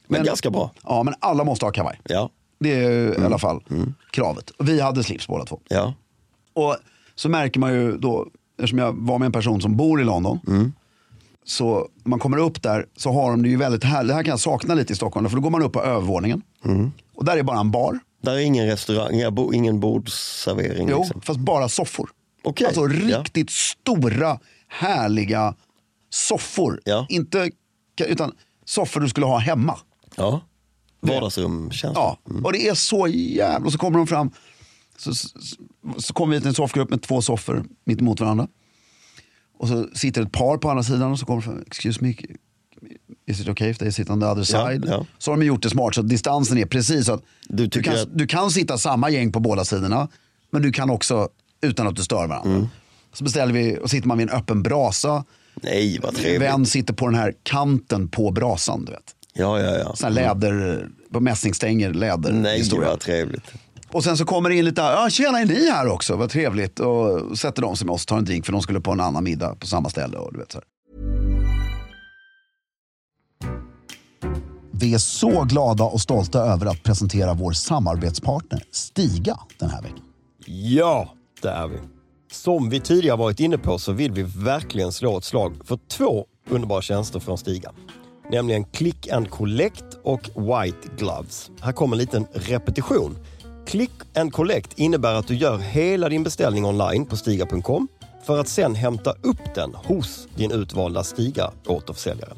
S1: Men, ganska bra.
S3: Ja, men alla måste ha kavaj.
S1: Ja.
S3: Det är ju i alla fall kravet. Vi hade slips båda två.
S1: Ja.
S3: Och så märker man ju då, eftersom jag var med en person som bor i London. Så man kommer upp där så har de det ju väldigt härligt. Det här kan jag sakna lite i Stockholm. För då går man upp på övervåningen. Och där är bara en bar.
S1: Där är ingen restaurang, ja, bo- ingen bordsservering.
S3: Jo,
S1: Liksom.
S3: fast bara soffor.
S1: Okej,
S3: Alltså
S1: ja.
S3: riktigt stora, härliga soffor.
S1: Ja.
S3: Inte, utan soffor du skulle ha hemma.
S1: Ja. Vardagsrum känns
S3: Ja, och det är så jävla... Och så kommer de fram. Så, så, så kommer vi till en soffgrupp med två soffor mitt emot varandra. Och så sitter ett par på andra sidan och så kommer de fram. Excuse me, is it okay if they sit on the other
S1: Ja,
S3: side?
S1: ja.
S3: Så har de gjort det smart så att distansen är precis så att
S1: Du tycker
S3: kan,
S1: att-
S3: du kan sitta samma gäng på båda sidorna. Men du kan också utan att du stör varandra.
S1: Mm.
S3: Så beställer vi och sitter man vid en öppen brasa.
S1: Nej, vad trevligt.
S3: Vem sitter på den här kanten på brasan? Du vet.
S1: Ja, ja, ja.
S3: Sån här läder, på mässingstänger, läder.
S1: Mm. Nej, gud,
S3: historia.
S1: vad trevligt.
S3: Och sen så kommer det in lite, ja tjena är ni här också, vad trevligt. Och sätter de sig med oss, tar en drink för de skulle på en annan middag på samma ställe. Och du vet, så här.
S4: Vi är så glada och stolta över att presentera vår samarbetspartner Stiga den här veckan.
S1: Ja, det är vi. Som vi tidigare varit inne på så vill vi verkligen slå ett slag för två underbara tjänster från Stiga. Nämligen Click and Collect och White Gloves. Här kommer en liten repetition. Click and Collect innebär att du gör hela din beställning online på stiga.com för att sen hämta upp den hos din utvalda Stiga återförsäljare.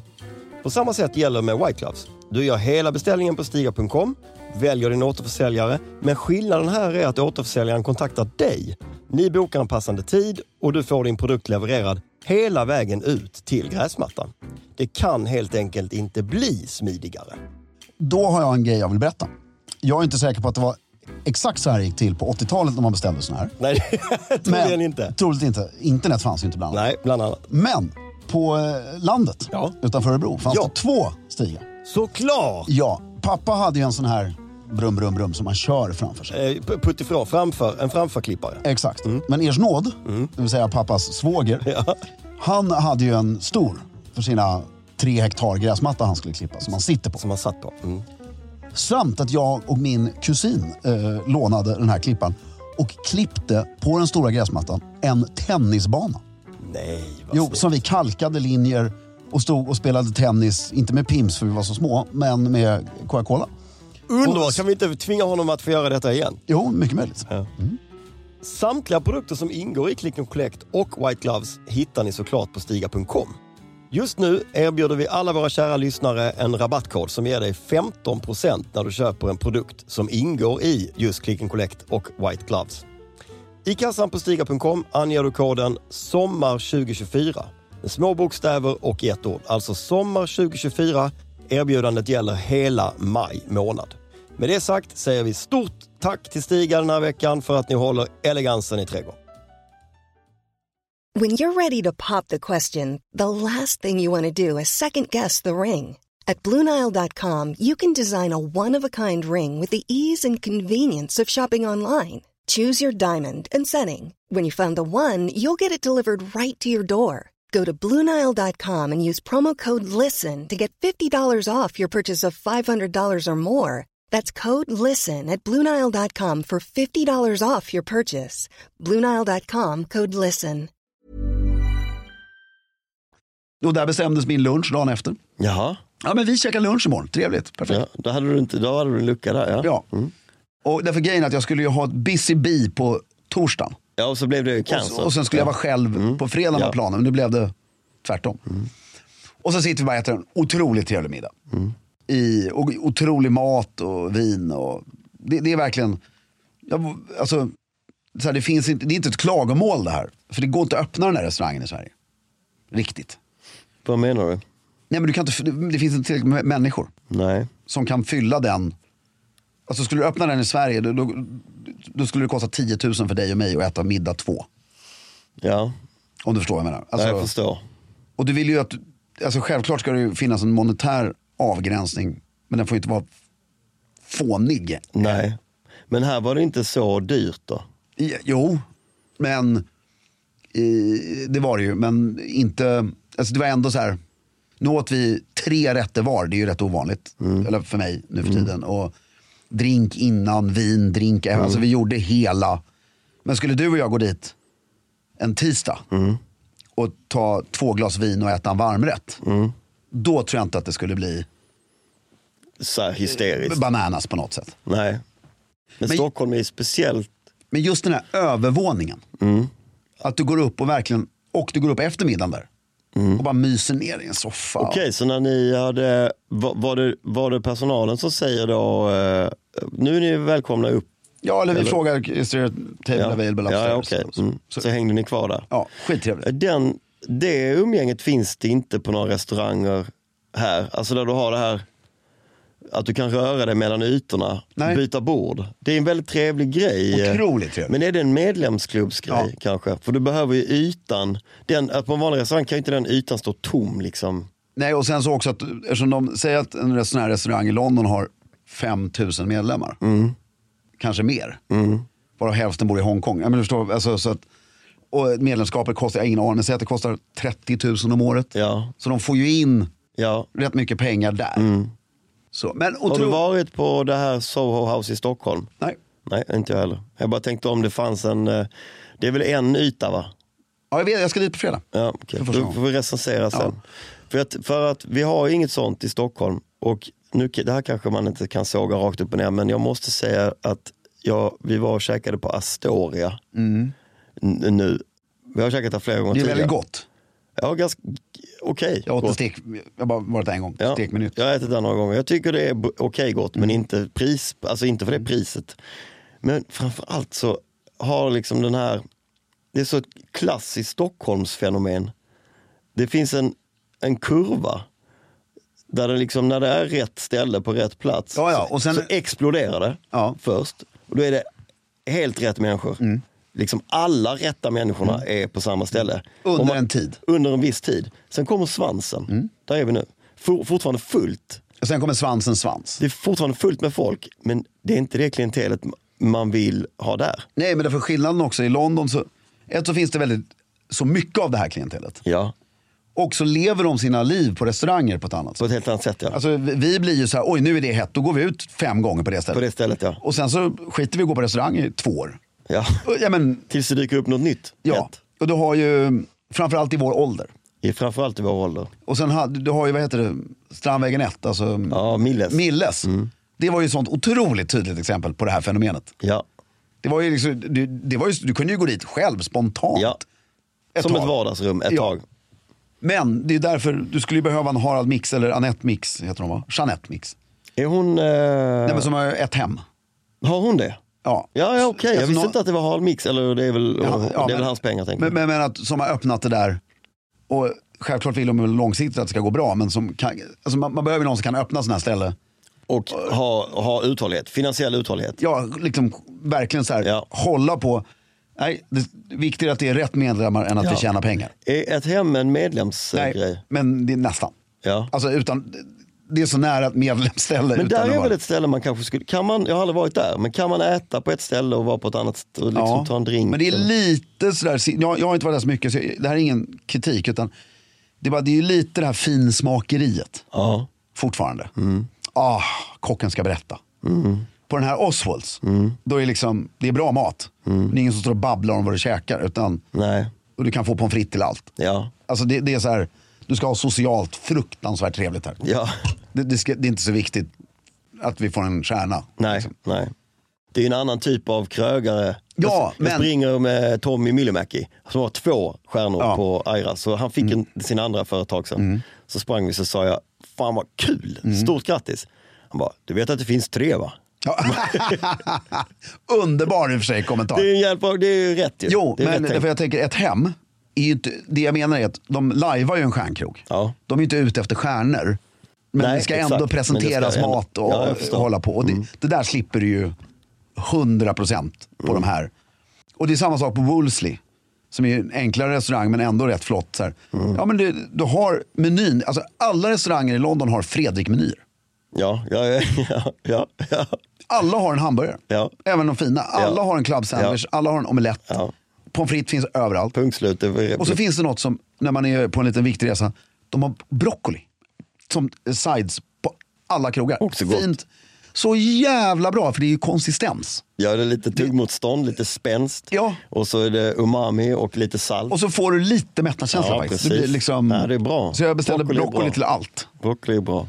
S1: På samma sätt gäller med White Gloves. Du gör hela beställningen på Stiga.com, väljer din återförsäljare, men skillnaden här är att återförsäljaren kontaktar dig. Ni bokar en passande tid och du får din produkt levererad hela vägen ut till gräsmattan. Det kan helt enkelt inte bli smidigare.
S4: Då har jag en grej jag vill berätta. Jag är inte säker på att det var exakt så här det gick till på 80-talet när man beställde såna här.
S1: Nej, troligen inte.
S4: Troligt inte. Internet fanns ju inte bland annat.
S1: Nej, bland annat.
S4: Men på eh, landet
S1: Ja.
S4: utanför Örebro fanns
S1: Ja.
S4: det två stigar.
S1: Såklart!
S4: Ja, pappa hade ju en sån här brum, brum, brum som man kör framför sig.
S1: Eh, p- Puttifrån, framför, en framförklippare.
S4: Exakt.
S3: Mm.
S4: Men Ers nåd, det vill säga pappas svåger, han hade ju en stor för sina tre hektar gräsmatta han skulle klippa som han sitter på.
S1: Som man satt på. Mm.
S4: Samt att jag och min kusin eh, lånade den här klippan och klippte på den stora gräsmattan en tennisbana.
S1: Nej, vad
S4: Jo,
S1: snyggt.
S4: som vi kalkade linjer och stod och spelade tennis, inte med pims för vi var så små, men med Coca-Cola.
S1: Underbart! Kan vi inte tvinga honom att få göra detta igen?
S4: Jo, mycket möjligt.
S1: Samtliga produkter som ingår i Click and Collect och White Gloves hittar ni såklart på stiga.com. Just nu erbjuder vi alla våra kära lyssnare en rabattkod som ger dig 15% när du köper en produkt som ingår i just Click and Collect och White Gloves. I kassan på stiga.com anger du koden SOMMAR2024 med små bokstäver och i ett ord. Alltså SOMMAR2024. Erbjudandet gäller hela maj månad. Med det sagt säger vi stort tack till Stiga den här veckan för att ni håller elegansen i trädgården.
S5: When you're ready to pop the question, the last thing you want to do is second guess the ring. At Bluenile.com, you can design a one of a kind ring with the ease and convenience of shopping online. Choose your diamond and setting. When you find the one, you'll get it delivered right to your door. Go to Bluenile.com and use promo code LISTEN to get $50 off your purchase of $500 or more. That's code LISTEN at Bluenile.com for $50 off your purchase. Bluenile.com code LISTEN.
S3: Och där bestämdes min lunch dagen efter.
S1: Jaha,
S3: Ja men vi käkar lunch imorgon, trevligt, perfekt.
S1: ja, då, hade du inte, då hade du en lucka där. Ja. Mm.
S3: Ja. Och därför grejen är att jag skulle ju ha ett busy bee på torsdagen.
S1: Ja, och så blev det ju
S3: Och,
S1: cancer.
S3: så, och sen skulle jag vara själv på fredagen
S1: Mm. Ja. Mm.
S3: var planen, men nu blev det tvärtom. Och så sitter vi bara och äter en otroligt trevlig middag.
S1: Mm.
S3: I, och otrolig mat och vin. Och, det, det är verkligen, jag, alltså, så här, det, finns inte, det är inte ett klagomål det här. För det går inte att öppna den här restaurangen i Sverige. Riktigt.
S1: Vad menar du?
S3: Nej men du kan inte, det finns inte tillräckligt med människor
S1: Nej.
S3: som kan fylla den. Alltså skulle du öppna den i Sverige då, då, då skulle det kosta 10 000 för dig och mig att äta middag två.
S1: Ja,
S3: Om du förstår vad jag menar.
S1: ja
S3: Alltså,
S1: jag förstår.
S3: och du vill ju att, alltså självklart ska det ju finnas en monetär avgränsning, men den får ju inte vara fånig.
S1: Nej. Men här var det inte så dyrt då?
S3: I- Jo, men i, det var det ju. Men inte, alltså det var ändå så här. Nu åt vi tre rätter var, det är ju rätt ovanligt. Eller för mig nu för tiden. Och drink innan, vin, drink efter. Alltså vi gjorde hela. Men skulle du och jag gå dit en tisdag och ta två glas vin och äta en varmrätt. Då tror jag inte att det skulle bli
S1: Så här hysteriskt?
S3: bananas på något sätt.
S1: Nej. Men,
S3: Men-
S1: Stockholm är ju speciellt.
S3: Men just den här övervåningen. Att du går upp och verkligen, och du går upp eftermiddagen där. Och bara myser ner i en soffa.
S1: Okej, så när ni hade, var, var, det, var det personalen som säger då, eh, nu är ni välkomna upp?
S3: Ja, eller vi
S1: Eller-
S3: frågar, is there a table available upstairs?
S1: ja, ja okej. Mm. Så, hängde ni kvar där?
S3: Ja, skittrevligt.
S1: Den, det umgänget finns det inte på några restauranger här. Alltså där du har det här att du kan röra dig mellan ytorna,
S3: Nej.
S1: byta bord. Det är en väldigt trevlig grej.
S3: Otroligt trevligt.
S1: Men är det en medlemsklubbsgrej
S3: Ja.
S1: kanske? För du behöver ju ytan. Den, att på en vanlig restaurang kan ju inte den ytan stå tom. Liksom.
S3: Nej, och sen så också att, eftersom de säger att en sån här restaurang i London har 5000 medlemmar.
S1: Mm.
S3: Kanske mer. Mm. Varav hälften bor i Hongkong. Ja, men du förstår, alltså, så att, och medlemskapet kostar, jag har ingen aning, men säg att det kostar 30 000 om året.
S1: Ja,
S3: Så de får ju in
S1: ja.
S3: rätt mycket pengar där. Så, men
S1: Mm. Har
S3: otro...
S1: du varit på det här Soho House i Stockholm?
S3: Nej.
S1: Nej, inte jag heller. Jag bara tänkte om det fanns en, eh, det är väl en yta va?
S3: Ja, jag, vet, jag ska dit på fredag.
S1: Ja, okay.
S3: För
S1: Då
S3: första gången.
S1: får vi recensera sen. För, att, för att vi har inget sånt i Stockholm och nu, det här kanske man inte kan såga rakt upp och ner men jag måste säga att jag, vi var och käkade på Astoria N- nu. Vi har käkat där flera gånger
S3: Mm. Det är
S1: tidigare.
S3: väldigt gott.
S1: Ja, ganska okej.
S3: Jag åt en
S1: gott.
S3: stek, jag har bara varit där en gång,
S1: Ja,
S3: stekminut. Mm.
S1: Jag har ätit den några gånger. Jag tycker det är b- okej gott, men inte, pris, alltså inte för det priset. Men framförallt så har liksom den här, det är så ett klassiskt Stockholmsfenomen. Det finns en, en kurva där det liksom, när det är rätt ställe på rätt plats
S3: Ja, ja,
S1: så-
S3: och sen-
S1: så exploderar det
S3: Ja. Mm.
S1: först. Och då är det helt rätt människor. Liksom alla rätta människorna är på samma ställe.
S3: Under
S1: Om man-
S3: en tid. Mm.
S1: Under en viss tid. Sen kommer svansen. Där är vi nu. For, fortfarande fullt.
S3: Och sen kommer svansen svans.
S1: Det är fortfarande fullt med folk, men det är inte det klientelet man vill ha där.
S3: Nej, men därför skillnaden också i London, så, ett så finns det väldigt, så mycket av det här klientelet.
S1: Ja,
S3: Och så lever de sina liv på restauranger på ett annat
S1: på
S3: sätt.
S1: ett helt annat sätt ja.
S3: Alltså, vi- vi blir ju så här, oj nu är det hett, då går vi ut fem gånger på det
S1: på
S3: stället.
S1: det stället ja.
S3: Och sen så skiter vi i att gå på restaurang i två år.
S1: ja.
S3: Och, Ja, men,
S1: Tills det dyker upp något nytt.
S3: ja.
S1: Rätt.
S3: Och du har ju, framförallt i vår ålder.
S1: I, framförallt i vår ålder.
S3: Och sen hade, du har ju, vad heter det, Strandvägen 1, alltså
S1: Ja, Milles. Mm.
S3: Milles. Det var ju ett sånt otroligt tydligt exempel på det här fenomenet.
S1: ja.
S3: Det var ju liksom, du, det var ju, du kunde ju gå dit själv spontant.
S1: ja.
S3: Ett
S1: Som
S3: tag.
S1: ett vardagsrum ett
S3: Ja.
S1: tag.
S3: Men det är därför, du skulle ju behöva en Harald Mix eller Anette Mix, heter hon va? Jeanette Mix.
S1: Är hon... Eh...
S3: Nej men som har ett hem.
S1: Har hon det?
S3: Ja,
S1: Ja, ja okej. Jag
S3: Alltså,
S1: visste
S3: nå-
S1: inte att det var Harald Mix. Eller det är väl,
S3: Ja, ja,
S1: det är väl
S3: men-
S1: hans pengar tänker
S3: Men,
S1: jag.
S3: men, men att, som har öppnat det där. Och självklart vill de väl långsiktigt att det ska gå bra. Men som kan, alltså man, man behöver någon som kan öppna sådana här ställen.
S1: Och ha, ha uthållighet. Finansiell uthållighet.
S3: Ja, liksom verkligen så här,
S1: Ja.
S3: hålla på. Nej, det är viktigare att det är rätt medlemmar än att
S1: Ja.
S3: vi tjänar pengar.
S1: Är ett hem en medlemsgrej?
S3: men det är nästan.
S1: Ja.
S3: Alltså utan, det är så nära ett medlemsställe.
S1: Men
S3: utan
S1: där
S3: att vara-
S1: är
S3: liksom,
S1: väl ett ställe man kanske skulle, kan man, jag har aldrig varit där, men kan man äta på ett ställe och vara på ett annat ställe och liksom ta en drink?
S3: Men det är lite sådär, jag, jag har inte varit där så mycket, så jag, det här är ingen kritik. Utan det, är bara, det är ju lite det här finsmakeriet
S1: Ja,
S3: fortfarande.
S1: Mm.
S3: Ah, kocken ska berätta. På den här Oswalds,
S1: Mm.
S3: då är det liksom, det är bra mat. Det är ingen som står och babblar om vad du käkar. Utan,
S1: nej,
S3: och du kan få pommes frites till allt.
S1: ja,
S3: Alltså det, det är så här, du ska ha socialt fruktansvärt trevligt här.
S1: ja,
S3: Det, det, ska, det är inte så viktigt att vi får en stjärna.
S1: nej, nej. Det är en annan typ av krögare.
S3: Ja,
S1: jag, jag
S3: men-
S1: springer med Tommy Myllymäki som har två stjärnor
S3: Ja. Mm.
S1: på Aira, så han fick en, sin andra företag sen. Så sprang vi så sa jag, fan vad kul,
S3: Mm.
S1: stort grattis. Han bara, du vet att det finns tre va?
S3: Ja. Underbar i och för sig kommentar.
S1: Det är en jävla, det är ju rätt ju.
S3: Jo,
S1: det är
S3: men
S1: rätt tänkt.
S3: därför jag tänker ett hem. Är ju inte, det jag menar är att de lajvar ju en stjärnkrog.
S1: Ja.
S3: De är ju inte ute efter stjärnor. Men
S1: Nej,
S3: det ska
S1: exakt.
S3: ändå
S1: Men det ska
S3: presenteras
S1: ändå-
S3: mat och,
S1: Ja, jag förstår. Mm.
S3: och hålla på. Och det, det där
S1: Mm.
S3: slipper du ju 100% på de här. Och det är samma sak på Wolseley. Som är en enklare restaurang men ändå rätt flott. Så här.
S1: Mm.
S3: Ja, men det, du har menyn. Alltså, alla restauranger i London har Fredrik-menyer.
S1: Ja, ja, ja, ja, ja, ja.
S3: Alla har en hamburgare.
S1: Ja.
S3: Även de fina. Alla
S1: Ja.
S3: har en club sandwich, alla har en omelett.
S1: Ja.
S3: Pommes frites finns överallt.
S1: Punkt slut. Det var-
S3: Och så finns det något som, när man är på en liten viktig resa, de har broccoli. Som sides på alla krogar.
S1: Också gott.
S3: Fint. Så jävla bra, för det är ju konsistens.
S1: Ja, det är lite tuggmotstånd, lite spänst.
S3: Ja.
S1: Och så är det umami och lite salt.
S3: Och så får du lite mättnadskänsla
S1: Ja,
S3: faktiskt.
S1: precis.
S3: Det blir liksom...
S1: Ja, det är bra.
S3: Så jag beställde
S1: Broccoli är
S3: broccoli,
S1: bra.
S3: till allt.
S1: Broccoli är bra.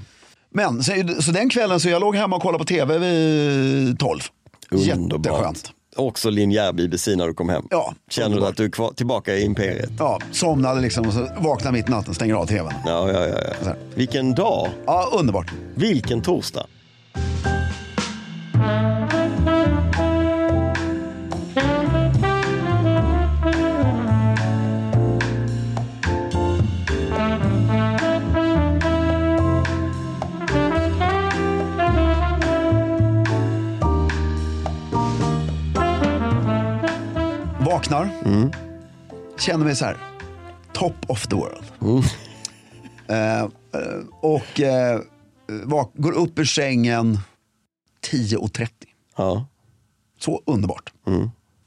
S3: Men, så, så den kvällen så jag låg hemma och kollade på tv vid tolv.
S1: Underbart.
S3: Jätteskönt.
S1: Också linjär BBC när du kom hem.
S3: Ja,
S1: Känner du att du är kvar, tillbaka i imperiet?
S3: Ja, somnade liksom och så vaknade mitt i natten, stänger av tvn.
S1: Ja, ja, ja. ja. Vilken dag!
S3: Ja, underbart.
S1: Vilken torsdag!
S3: Vaknar, känner mig så här, top of the world. Eh, eh, och eh, vak- går upp ur sängen 10.30.
S1: Ja. mm.
S3: Så underbart.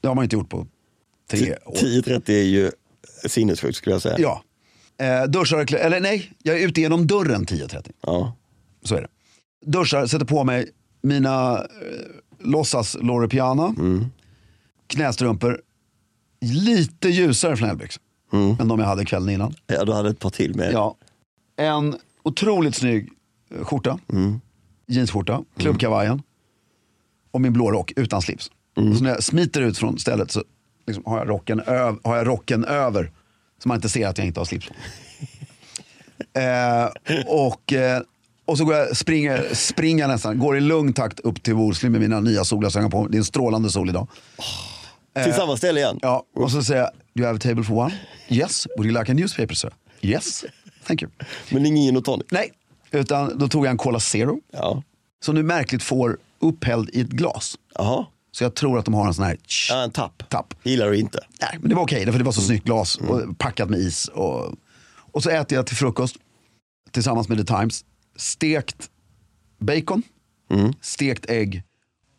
S3: Det har man ju inte gjort på tre år.
S1: 10.30 är ju sinnessjukt skulle jag säga.
S3: Ja. Eh, duschar och klä- eller nej, jag är ute genom dörren 10.30.
S1: Ja.
S3: Så är det. Duschar, sätter på mig mina eh, låtsas Loro Piana. Knästrumpor. Lite ljusare flanellbyxor. Än de jag hade kvällen innan.
S1: ja, du hade ett par till med.
S3: Ja. En otroligt snygg eh, skjorta. Jeansskjorta, klubbkavajen. Och min blå rock utan slips. Så när jag smiter ut från stället så liksom har, jag rocken öv- har jag rocken över. Så man inte ser att jag inte har slips på. eh, och, eh, och så går jag, springer, springer nästan, går i lugn takt upp till Wolseley med mina nya solglasögon på. Det är en strålande sol idag.
S1: Till samma ställe igen?
S3: eh, Ja, och så säger jag, do you have a table for one? Yes, would you like a newspaper sir? Yes, thank you.
S1: Men ingen gin och tonic?
S3: Nej, utan då tog jag en Cola Zero.
S1: Ja.
S3: Som du märkligt får upphälld i ett glas.
S1: Jaha.
S3: Så jag tror att de har en sån här... tsch.
S1: Ja, Mm. en tapp.
S3: Tapp.
S1: Gillar du inte?
S3: Nej, men det var okej, för det var så snyggt glas och packat med is. Och, och så äter jag till frukost tillsammans med The Times. Stekt bacon,
S1: Mm.
S3: stekt ägg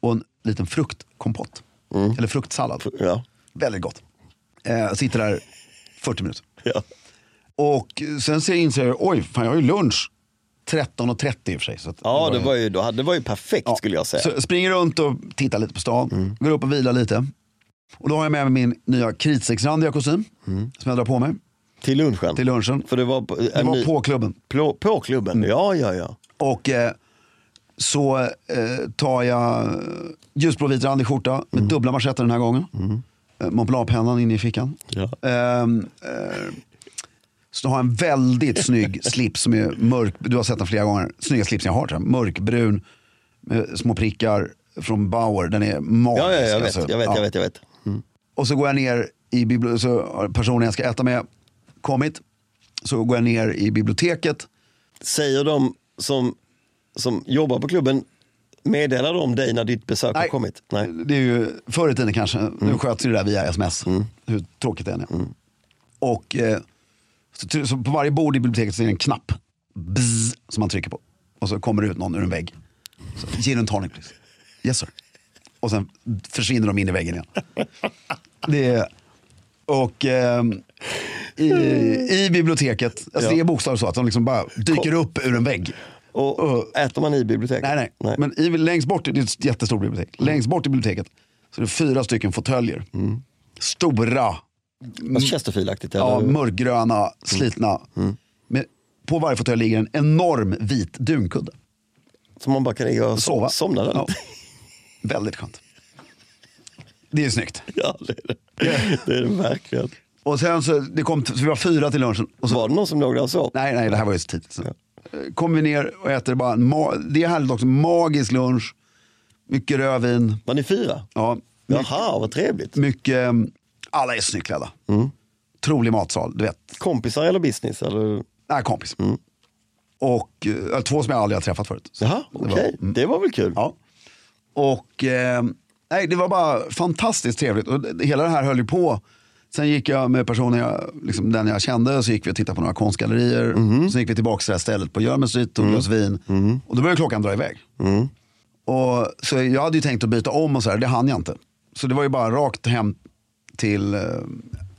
S3: och en liten fruktkompott.
S1: Mm.
S3: Eller fruktsallad.
S1: Ja.
S3: Väldigt gott. Eh, sitter där 40 minuter.
S1: ja.
S3: Och sen ser jag inser jag, oj, fan jag har ju lunch 13.30 i och för sig. Så att
S1: Ja, det var ju, då hade- det var ju perfekt skulle jag säga.
S3: Så springer runt och tittar lite på stan, går upp och vilar lite. Och då har jag med mig min nya kritseksrandiga kostym som jag drar på mig
S1: Till lunchen?
S3: till lunchen.
S1: För det var, på-
S3: Det
S1: en
S3: var
S1: ny-
S3: på Mm. klubben.
S1: Plå- på klubben? Ja, ja, ja.
S3: Och eh, så eh, tar jag ljusblå vitrandig skjorta med
S1: Mm.
S3: dubbla manschetter den här gången. Eh, Mont Blanc-pennan inne i fickan.
S1: Ja.
S3: Ehm, eh, så har jag en väldigt snygg slips som är mörk. Du har sett den flera gånger. Snygga slipsen jag har. tror jag. Mörkbrun med små prickar från Bauer. Den är magisk.
S1: Ja, ja, jag vet,
S3: alltså.
S1: jag vet,
S3: Ja.
S1: jag vet, jag vet.
S3: Och så går jag ner i biblioteket, så har personen jag ska äta med kommit. Så går jag ner i biblioteket.
S1: Säger de som, som jobbar på klubben, meddelar de dig när ditt besök har kommit? Nej.
S3: Det är ju förr i tiden kanske. Nu sköts ju det där via sms. Hur tråkigt det än är. Och eh, så, try- så på varje bord i biblioteket så är det en knapp. Bzz, som man trycker på. Och så kommer det ut någon ur en vägg. Så, Gin and tonic please. Yes sir. Och sen försvinner de in i väggen igen. Det är, och ehm, i, i biblioteket, alltså det är bokstavligt så att de liksom bara dyker upp ur en vägg.
S1: Och, äter man i biblioteket?
S3: Nej, nej. Men i, längst bort, det är ett jättestort bibliotek. Längst bort i biblioteket så är det fyra stycken fåtöljer. Stora,
S1: Fast Alltså, Chesterfield-aktigt?
S3: ja,
S1: eller?
S3: mörkgröna, slitna. Men på varje fåtölj ligger en enorm vit dunkudde.
S1: Så man bara kan ligga och
S3: Sova.
S1: sova. somna där.
S3: Ja. Väldigt skönt. Det är snyggt.
S1: Ja, det är det. Det är det verkligen.
S3: Och sen så, det kom, t- så vi var fyra till lunchen. Och så,
S1: Var det någon som låg där och sov?
S3: nej, nej, det här var ju så tidigt. Så. Kom vi ner och äter bara en ma- det är härligt också, magisk lunch. Mycket rödvin.
S1: Var ni fyra?
S3: Ja,
S1: Jaha, vad trevligt.
S3: mycket, ehm, alla är snyggt klädda. Trolig matsal, du vet.
S1: Kompisar eller business? Eller?
S3: Nej, kompis. Och eh, två som jag aldrig har träffat förut. Så
S1: Jaha,
S3: det var- mm.
S1: okej. Det var väl kul?
S3: Ja. Och eh, nej, det var bara fantastiskt trevligt. Och det- hela det här höll ju på Sen gick jag med personen jag, liksom den jag kände, så gick vi och tittade på några konstgallerier. Sen gick vi tillbaka till det här stället på Jermyn Street, tog glas vin. Och då började klockan dra iväg. Och, så jag hade ju tänkt att byta om och sådär, det hann jag inte. Så det var ju bara rakt hem till eh,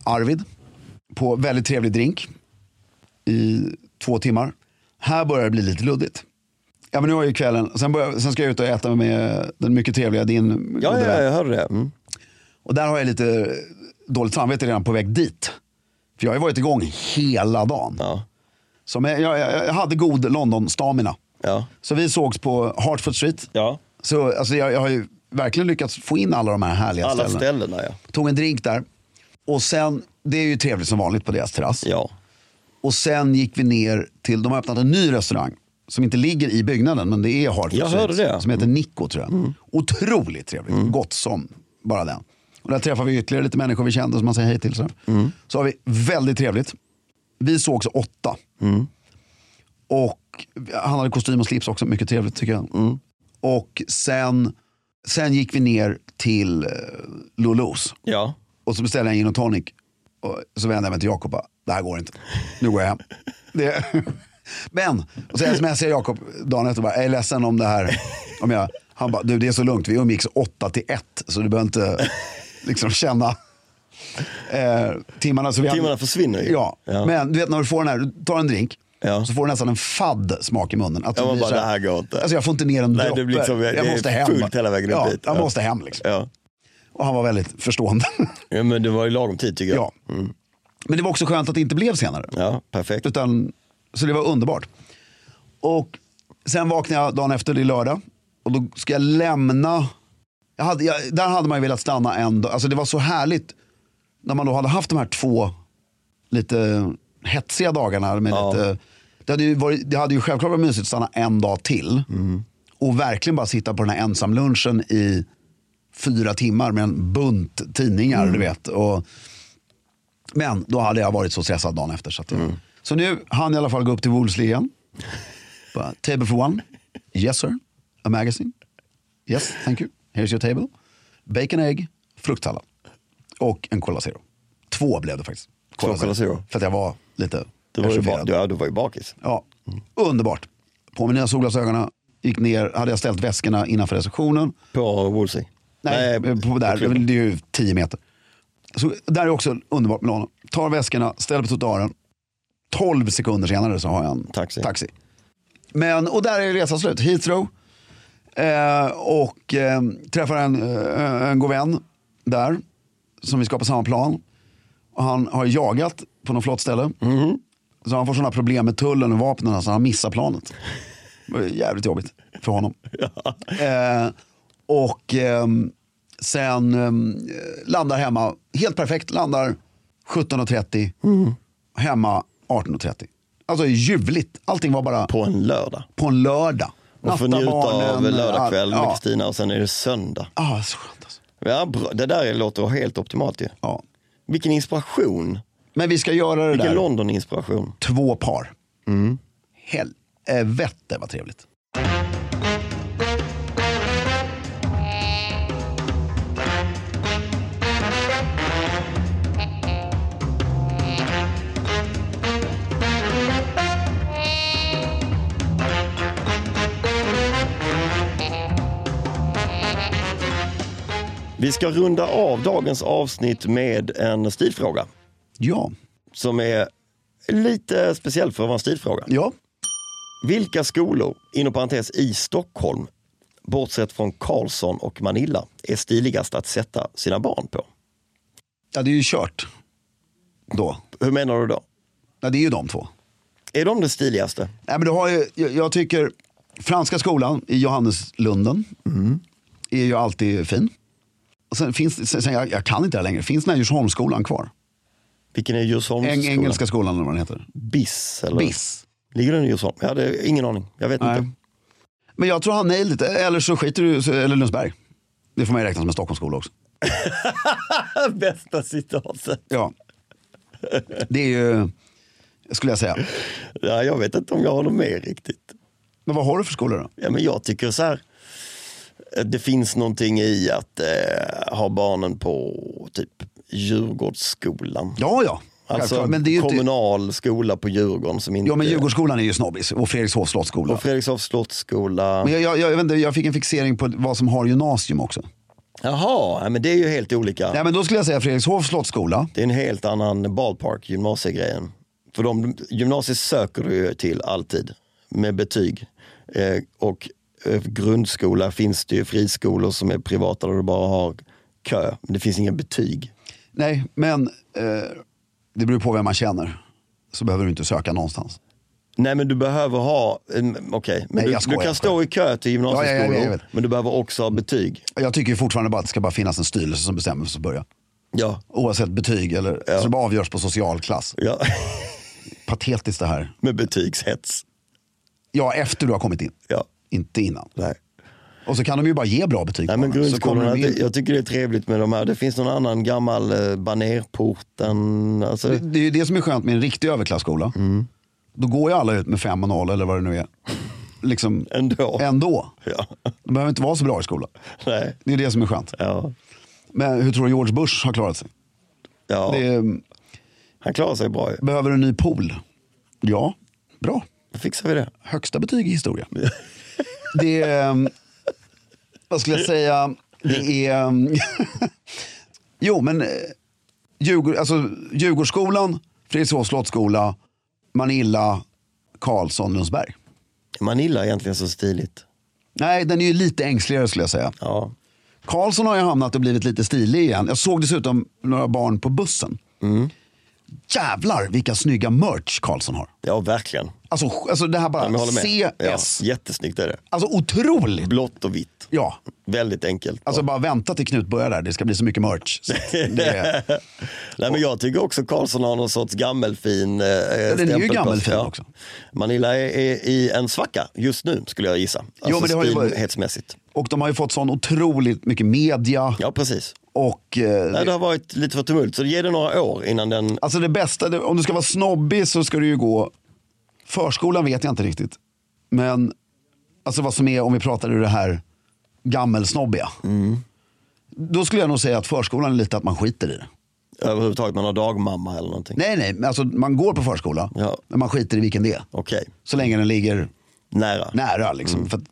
S3: Arvid. På väldigt trevlig drink. I två timmar. Här börjar det bli lite luddigt. Ja men nu har ju kvällen, sen, börjar, sen ska jag ut och äta med den mycket trevliga din
S1: Ja,
S3: gode
S1: ja,
S3: vän.
S1: jag hörde det. Mm.
S3: Och där har jag lite dåligt samvete redan på väg dit. För jag har ju varit igång hela dagen.
S1: Ja,
S3: Så men jag, jag, jag hade god London-stamina.
S1: ja,
S3: Så vi sågs på Hartford Street.
S1: ja.
S3: Så alltså, jag, jag har ju verkligen lyckats få in alla de här härliga
S1: Alla
S3: ställena.
S1: ställena ja.
S3: Tog en drink där. Och sen, det är ju trevligt som vanligt på deras terrass.
S1: Ja,
S3: Och sen gick vi ner till, de har öppnat en ny restaurang. Som inte ligger i byggnaden, men det är Hartford
S1: Jag hörde det. Mm.
S3: Som heter Nico tror jag. Otroligt trevligt, gott som bara den. Och där träffar vi ytterligare lite människor vi kände som man säger hej till. Så,
S1: Mm.
S3: så har vi väldigt trevligt. Vi sågs åtta.
S1: Mm.
S3: Och han hade kostym och slips också, mycket trevligt tycker jag.
S1: Mm.
S3: Och sen, sen gick vi ner till eh, Lulus.
S1: ja.
S3: Och så beställer jag en gin och tonic. Och så vänder jag mig till Jakob och bara, det här går inte. Nu går jag hem. Det... Men, och så smsar jag Jakob dagen efter och bara, jag är ledsen om det här. Om jag... Han bara, du det är så lugnt, vi umgicks 8 till 1 så du behöver inte liksom känna eh, timmarna. Så vi hade-
S1: Timmarna försvinner ju.
S3: Ja.
S1: Ja.
S3: men du vet när du får den här, du tar en drink.
S1: Ja.
S3: Så får du nästan en fadd smak i munnen. Att
S1: Ja,
S3: du
S1: man
S3: blir
S1: bara,
S3: så
S1: "Det här går inte."
S3: Alltså jag får inte ner en
S1: Nej, det
S3: droppe.
S1: blir liksom- det
S3: jag
S1: är
S3: måste hem.
S1: fullt hela vägen upp
S3: ja,
S1: dit.
S3: Jag
S1: Ja.
S3: måste hem liksom.
S1: ja.
S3: Och han var väldigt förstående.
S1: ja men det var ju lagom tid tycker jag.
S3: Ja. Mm. Men det var också skönt att det inte blev senare.
S1: Ja, perfekt.
S3: Utan, så det var underbart. Och sen vaknade jag dagen efter, det är lördag. Och då ska jag lämna. Jag hade, jag, där hade man ju velat stanna en dag. Alltså det var så härligt när man då hade haft de här två lite hetsiga dagarna. Med
S1: Ja.
S3: lite, det, hade ju varit, det hade ju självklart varit mysigt att stanna en dag till. Och verkligen bara sitta på den här ensamlunchen i fyra timmar med en bunt tidningar.
S1: Mm.
S3: Du vet. Och, men då hade jag varit så stressad dagen efter. Så, att
S1: Mm.
S3: jag, så nu hann jag i alla fall gå upp till Wolseley igen. Bara, table for one. Yes sir. A magazine. Yes, thank you. Here's your table. Bacon, egg, fruktsallad. Och en Cola Zero. Två blev det faktiskt.
S1: Två Cola Zero.
S3: För att jag var lite
S1: Du var, ju ba-
S3: perturberad.
S1: du, ja, du var ju bakis.
S3: Ja, underbart. På med nya solglasögonen, gick ner, hade jag ställt väskorna innanför receptionen.
S1: På Woolsey.
S3: Nej, eh, på där,
S1: klubben.
S3: det är ju 10 meter. Så där är också underbart med honom. Tar väskorna, ställer på trottoaren. 12 sekunder senare så har jag en
S1: Taxi.
S3: taxi. Men, och där är resan slut. Heathrow. Eh, och eh, träffar en, eh, en god vän där. Som vi ska på samma plan. Och han har jagat på något flott ställe. Så han får sådana problem med tullen och vapnen så han missar planet. Det var ju jävligt jobbigt för honom. Eh, och ehm, sen ehm, landar hemma, helt perfekt, landar 17.30,
S1: Mm.
S3: hemma 18.30. Alltså ljuvligt, allting var bara på,
S1: På en lördag.
S3: en lördag.
S1: Och får njuta av lördagkväll med
S3: Ja,
S1: Kristina och sen är det söndag.
S3: ah, så skönt alltså.
S1: Ja, bra. Det där låter helt optimalt ju.
S3: ja.
S1: Vilken inspiration.
S3: Men vi ska göra det
S1: Vilken
S3: där,
S1: London-inspiration.
S3: två par. Mm. Helvete vad trevligt.
S1: Vi ska runda av dagens avsnitt med en stilfråga.
S3: Ja,
S1: Som är lite speciell för att vara en stilfråga.
S3: ja.
S1: Vilka skolor, inom parentes i Stockholm, bortsett från Karlsson och Manilla, är stiligast att sätta sina barn på?
S3: ja det är ju kört då.
S1: Hur menar du då?
S3: Ja, det är ju de två.
S1: Är de det stiligaste?
S3: Nej, men du har ju, jag, jag tycker Franska skolan i Johanneslunden är ju alltid fin. Och sen finns, sen, sen, jag, jag kan inte det här längre. Finns Djursholmsskolan kvar?
S1: Vilken är Djursholmsskolan?
S3: Eng, engelska skolan eller vad den heter.
S1: BIS? Eller?
S3: BIS.
S1: Ligger den i Djursholm? Jag hade ingen aning. Jag vet
S3: Nej.
S1: inte.
S3: Men jag tror han nailed lite. Eller så skiter du så- eller Lundsberg. Det får man ju räkna som en Stockholmsskola också.
S1: Bästa citatet.
S3: Ja. Det är ju, skulle jag säga.
S1: Ja, jag vet inte om jag håller med riktigt.
S3: Men vad har du för skolor då?
S1: Ja, men jag tycker så här. eh, Det finns någonting i att eh, ha barnen på typ Djurgårdsskolan.
S3: Ja, ja.
S1: Alltså
S3: Självklart. men det är ju inte...
S1: kommunal skola på Djurgården som inte...
S3: Ja, men Djurgårdsskolan är ju snobbis och Fredrikshovs slottsskola.
S1: Eh, Och Fredrikshovs slottsskola.
S3: Men jag, jag, jag, jag, vet inte, jag fick en fixering på vad som har gymnasium också.
S1: Jaha, nej, men det är ju helt olika.
S3: Nej, men då skulle jag säga Fredrikshovs slottsskola.
S1: Det är en helt annan ballpark, gymnasiegrejen. För de, gymnasiet söker du ju till alltid med betyg. Eh, och eh, grundskola finns det ju friskolor som är privata där du bara har kö. Men det finns inga betyg.
S3: Nej, men eh, det beror på vem man känner. Så behöver du inte söka någonstans.
S1: Nej men du behöver ha, eh, okej, men
S3: Nej,
S1: du,
S3: jag skojar,
S1: du kan
S3: jag
S1: stå i kö
S3: Ja,
S1: till
S3: ja,
S1: gymnasieskolor.
S3: ja, jag vet.
S1: men du behöver också ha betyg.
S3: Jag tycker ju fortfarande bara att det ska bara finnas en styrelse som bestämmer från början.
S1: Ja,
S3: Oavsett betyg eller så det bara avgörs på social klass.
S1: ja.
S3: Patetiskt det här.
S1: med betygshets.
S3: Ja, efter du har kommit in.
S1: Ja,
S3: Inte innan.
S1: nej.
S3: Och så kan de ju bara ge bra betyg.
S1: Nej,
S3: på
S1: men
S3: den, så kommer
S1: grundskolorna,
S3: de in.
S1: det, jag tycker det är trevligt med de här. Det finns någon annan gammal eh, banerporten. Alltså,
S3: Det- Det är ju det som är skönt med en riktig överklassskola. Då går ju alla ut med 5 och 0 eller vad det nu är. Liksom,
S1: ändå.
S3: ändå.
S1: Ja.
S3: De behöver inte vara så bra i skolan.
S1: Nej.
S3: Det är det som är skönt.
S1: Ja.
S3: Men hur tror du George Bush har klarat sig?
S1: Ja.
S3: Det är,
S1: Han klarar sig bra ju.
S3: behöver en ny pool? Ja, bra.
S1: Då fixar vi det.
S3: Högsta betyg i historia. det är, ehm, vad skulle jag säga, det är, ehm, jo men eh, Djurgård, alltså, Djurgårdsskolan, Fredrikshovs slottsskola, Manilla, Karlsson, Lundsberg.
S1: Manilla är egentligen så stiligt.
S3: Nej, den är ju lite ängsligare skulle jag säga.
S1: Ja.
S3: Karlsson har ju hamnat och blivit lite stilig igen. Jag såg dessutom några barn på bussen.
S1: Mm.
S3: Jävlar vilka snygga merch Karlsson har.
S1: ja, verkligen.
S3: Alltså, alltså det här bara
S1: Ja, men jag håller med. Ja,
S3: CS.
S1: jättesnyggt är det.
S3: Alltså otroligt.
S1: Blått och vitt.
S3: Ja,
S1: Väldigt enkelt.
S3: alltså bara vänta till Knut börjar där. Det ska bli så mycket merch. Så det,
S1: Nej, men jag tycker också Karlsson har någon sorts gammelfin eh,
S3: är ju
S1: stämpel på sig.
S3: gammelfin också.
S1: Manilla är, är i en svacka just nu skulle jag gissa. Alltså
S3: men det har ju varit-
S1: stilhetsmässigt.
S3: och de har ju fått sån otroligt mycket media.
S1: Ja, precis.
S3: Och, eh,
S1: Nej, det har varit lite för tumult, så ge det några år innan den...
S3: alltså det bästa, det- om du ska vara snobbig så ska du ju gå... Förskolan vet jag inte riktigt. Men alltså vad som är, om vi pratar ur det här gammelsnobbiga. Då skulle jag nog säga att förskolan är lite att man skiter i det.
S1: Överhuvudtaget, man har dagmamma eller någonting.
S3: Nej, nej, men alltså man går på förskola.
S1: Ja.
S3: Men man skiter i vilken det är.
S1: Okej,
S3: Så länge den ligger
S1: nära.
S3: nära. Liksom, för att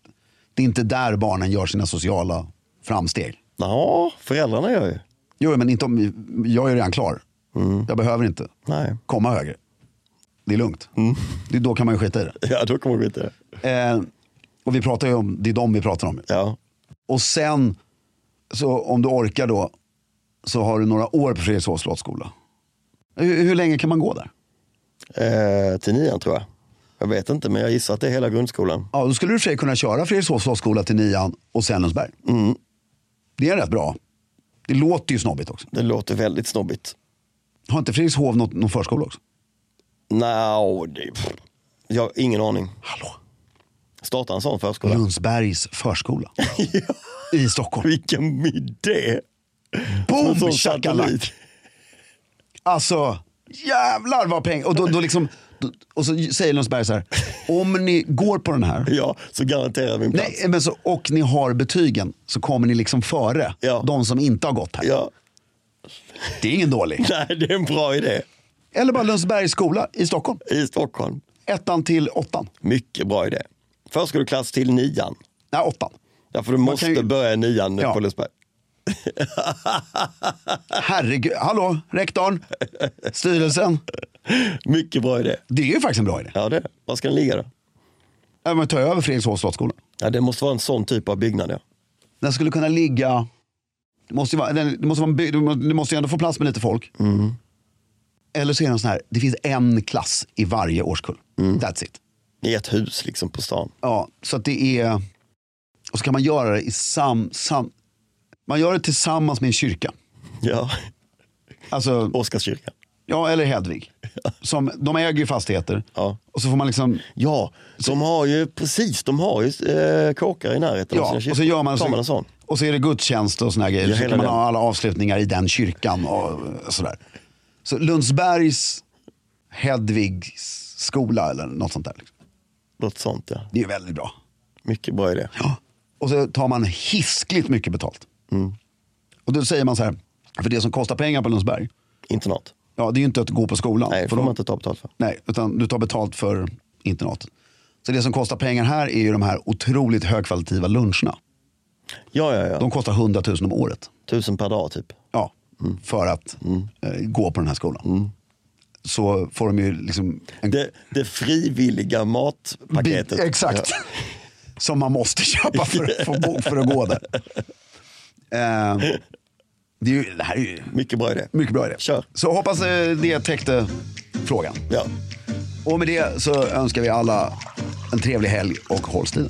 S3: det är inte där barnen gör sina sociala framsteg.
S1: Ja, föräldrarna gör ju.
S3: Jo, men inte om, jag är redan klar. Jag behöver inte
S1: Nej.
S3: komma högre. Det är lugnt. Det, då kan man ju skita i det.
S1: Ja, då kommer vi inte.
S3: Eh, och vi pratar ju om, det är de vi pratar om.
S1: Ja.
S3: Och sen, så om du orkar då, så har du några år på Fredrikshovs slottsskola. Hur, hur länge kan man gå där?
S1: Eh, till nian tror jag. Jag vet inte, men jag gissar att det är hela grundskolan.
S3: Ja, då skulle du i och för sig kunna köra Fredrikshovs slottsskola till nian och sen Lundsberg. Det är rätt bra. Det låter ju snobbigt också.
S1: Det låter väldigt snobbigt.
S3: Har inte Fredrikshov något- någon förskola också?
S1: Nja, det... pff. jag har ingen aning.
S3: Hallå?
S1: Starta en sån förskola.
S3: Lundsbergs förskola. I Stockholm.
S1: Vilken idé! En
S3: Boom
S1: sån
S3: shakalak!
S1: satellit.
S3: Alltså, jävlar vad pengar. Och, då, då liksom, då, och så säger Lundsberg så här, om ni går på den här,
S1: Ja, så garanterar vi en plats.
S3: nej, men så, och ni har betygen, så kommer ni liksom före
S1: Ja.
S3: de som inte har gått här.
S1: Ja.
S3: Det är ingen dålig.
S1: Nej, det är en bra idé.
S3: Eller bara Lundsbergs skola i Stockholm.
S1: I Stockholm.
S3: Ettan till åttan.
S1: Mycket bra idé. Förskoleklass till nian.
S3: Nej, åttan.
S1: Därför du måste
S3: kan ju-
S1: börja nian
S3: Ja.
S1: på Lundsberg.
S3: Herregud, hallå, rektorn, styrelsen.
S1: Mycket bra idé.
S3: Det är ju faktiskt en bra idé.
S1: Ja, det. Var ska den ligga då?
S3: Ja, men Ta över Fredrikshovs slottsskola.
S1: Ja, det måste vara en sån typ av byggnad. Ja.
S3: Den skulle kunna ligga... Det måste ju, vara, den, det måste vara en by, det må- det måste ju ändå få plats med lite folk. Eller så är den sån här, det finns en klass i varje årskull. That's it.
S1: I ett hus liksom på stan.
S3: Ja, så att det är... Och så kan man göra det i sam, sam... Man gör det tillsammans med en kyrka.
S1: Ja,
S3: Alltså,
S1: Oscarskyrkan.
S3: ja, eller Hedvig. Som, de äger ju fastigheter.
S1: Ja.
S3: Och så får man liksom...
S1: Ja, de har ju precis, de har ju eh, kåkar i närheten av
S3: Ja,
S1: sina kyrkor.
S3: och så gör man,
S1: Tar man en sån.
S3: Och så är det gudstjänst och såna här grejer.
S1: Ja,
S3: så
S1: hela
S3: kan man
S1: den.
S3: ha alla avslutningar i den kyrkan och eh, sådär. Så Lundsbergs Hedvigs skola eller något sånt där. liksom.
S1: Något sånt ja.
S3: Det är väldigt bra.
S1: Mycket bra idé. Mm.
S3: Ja. Och så tar man hiskligt mycket betalt. Och då säger man så här, För det som kostar pengar på Lundsberg,
S1: Internat.
S3: ja, det är ju inte att gå på skolan.
S1: Nej, det
S3: för
S1: får
S3: de-
S1: man inte ta betalt för.
S3: Nej, utan du tar betalt för internatet. Så det som kostar pengar här är ju de här otroligt högkvalitativa luncherna.
S1: Ja, ja, ja.
S3: De kostar 100 000 om året.
S1: Tusen per dag typ.
S3: Ja, för att eh, gå på den här skolan. Så får de ju liksom en
S1: Det, det frivilliga matpaketet.
S3: Bi- Exakt.
S1: Ja.
S3: Som man måste köpa för, att få bo- för att gå där. Eh, det, är ju, det här är ju
S1: Mycket bra idé.
S3: mycket bra idé.
S1: Kör.
S3: Så hoppas eh, det täckte frågan.
S1: Ja.
S3: Och med det så önskar vi alla en trevlig helg och håll stilen.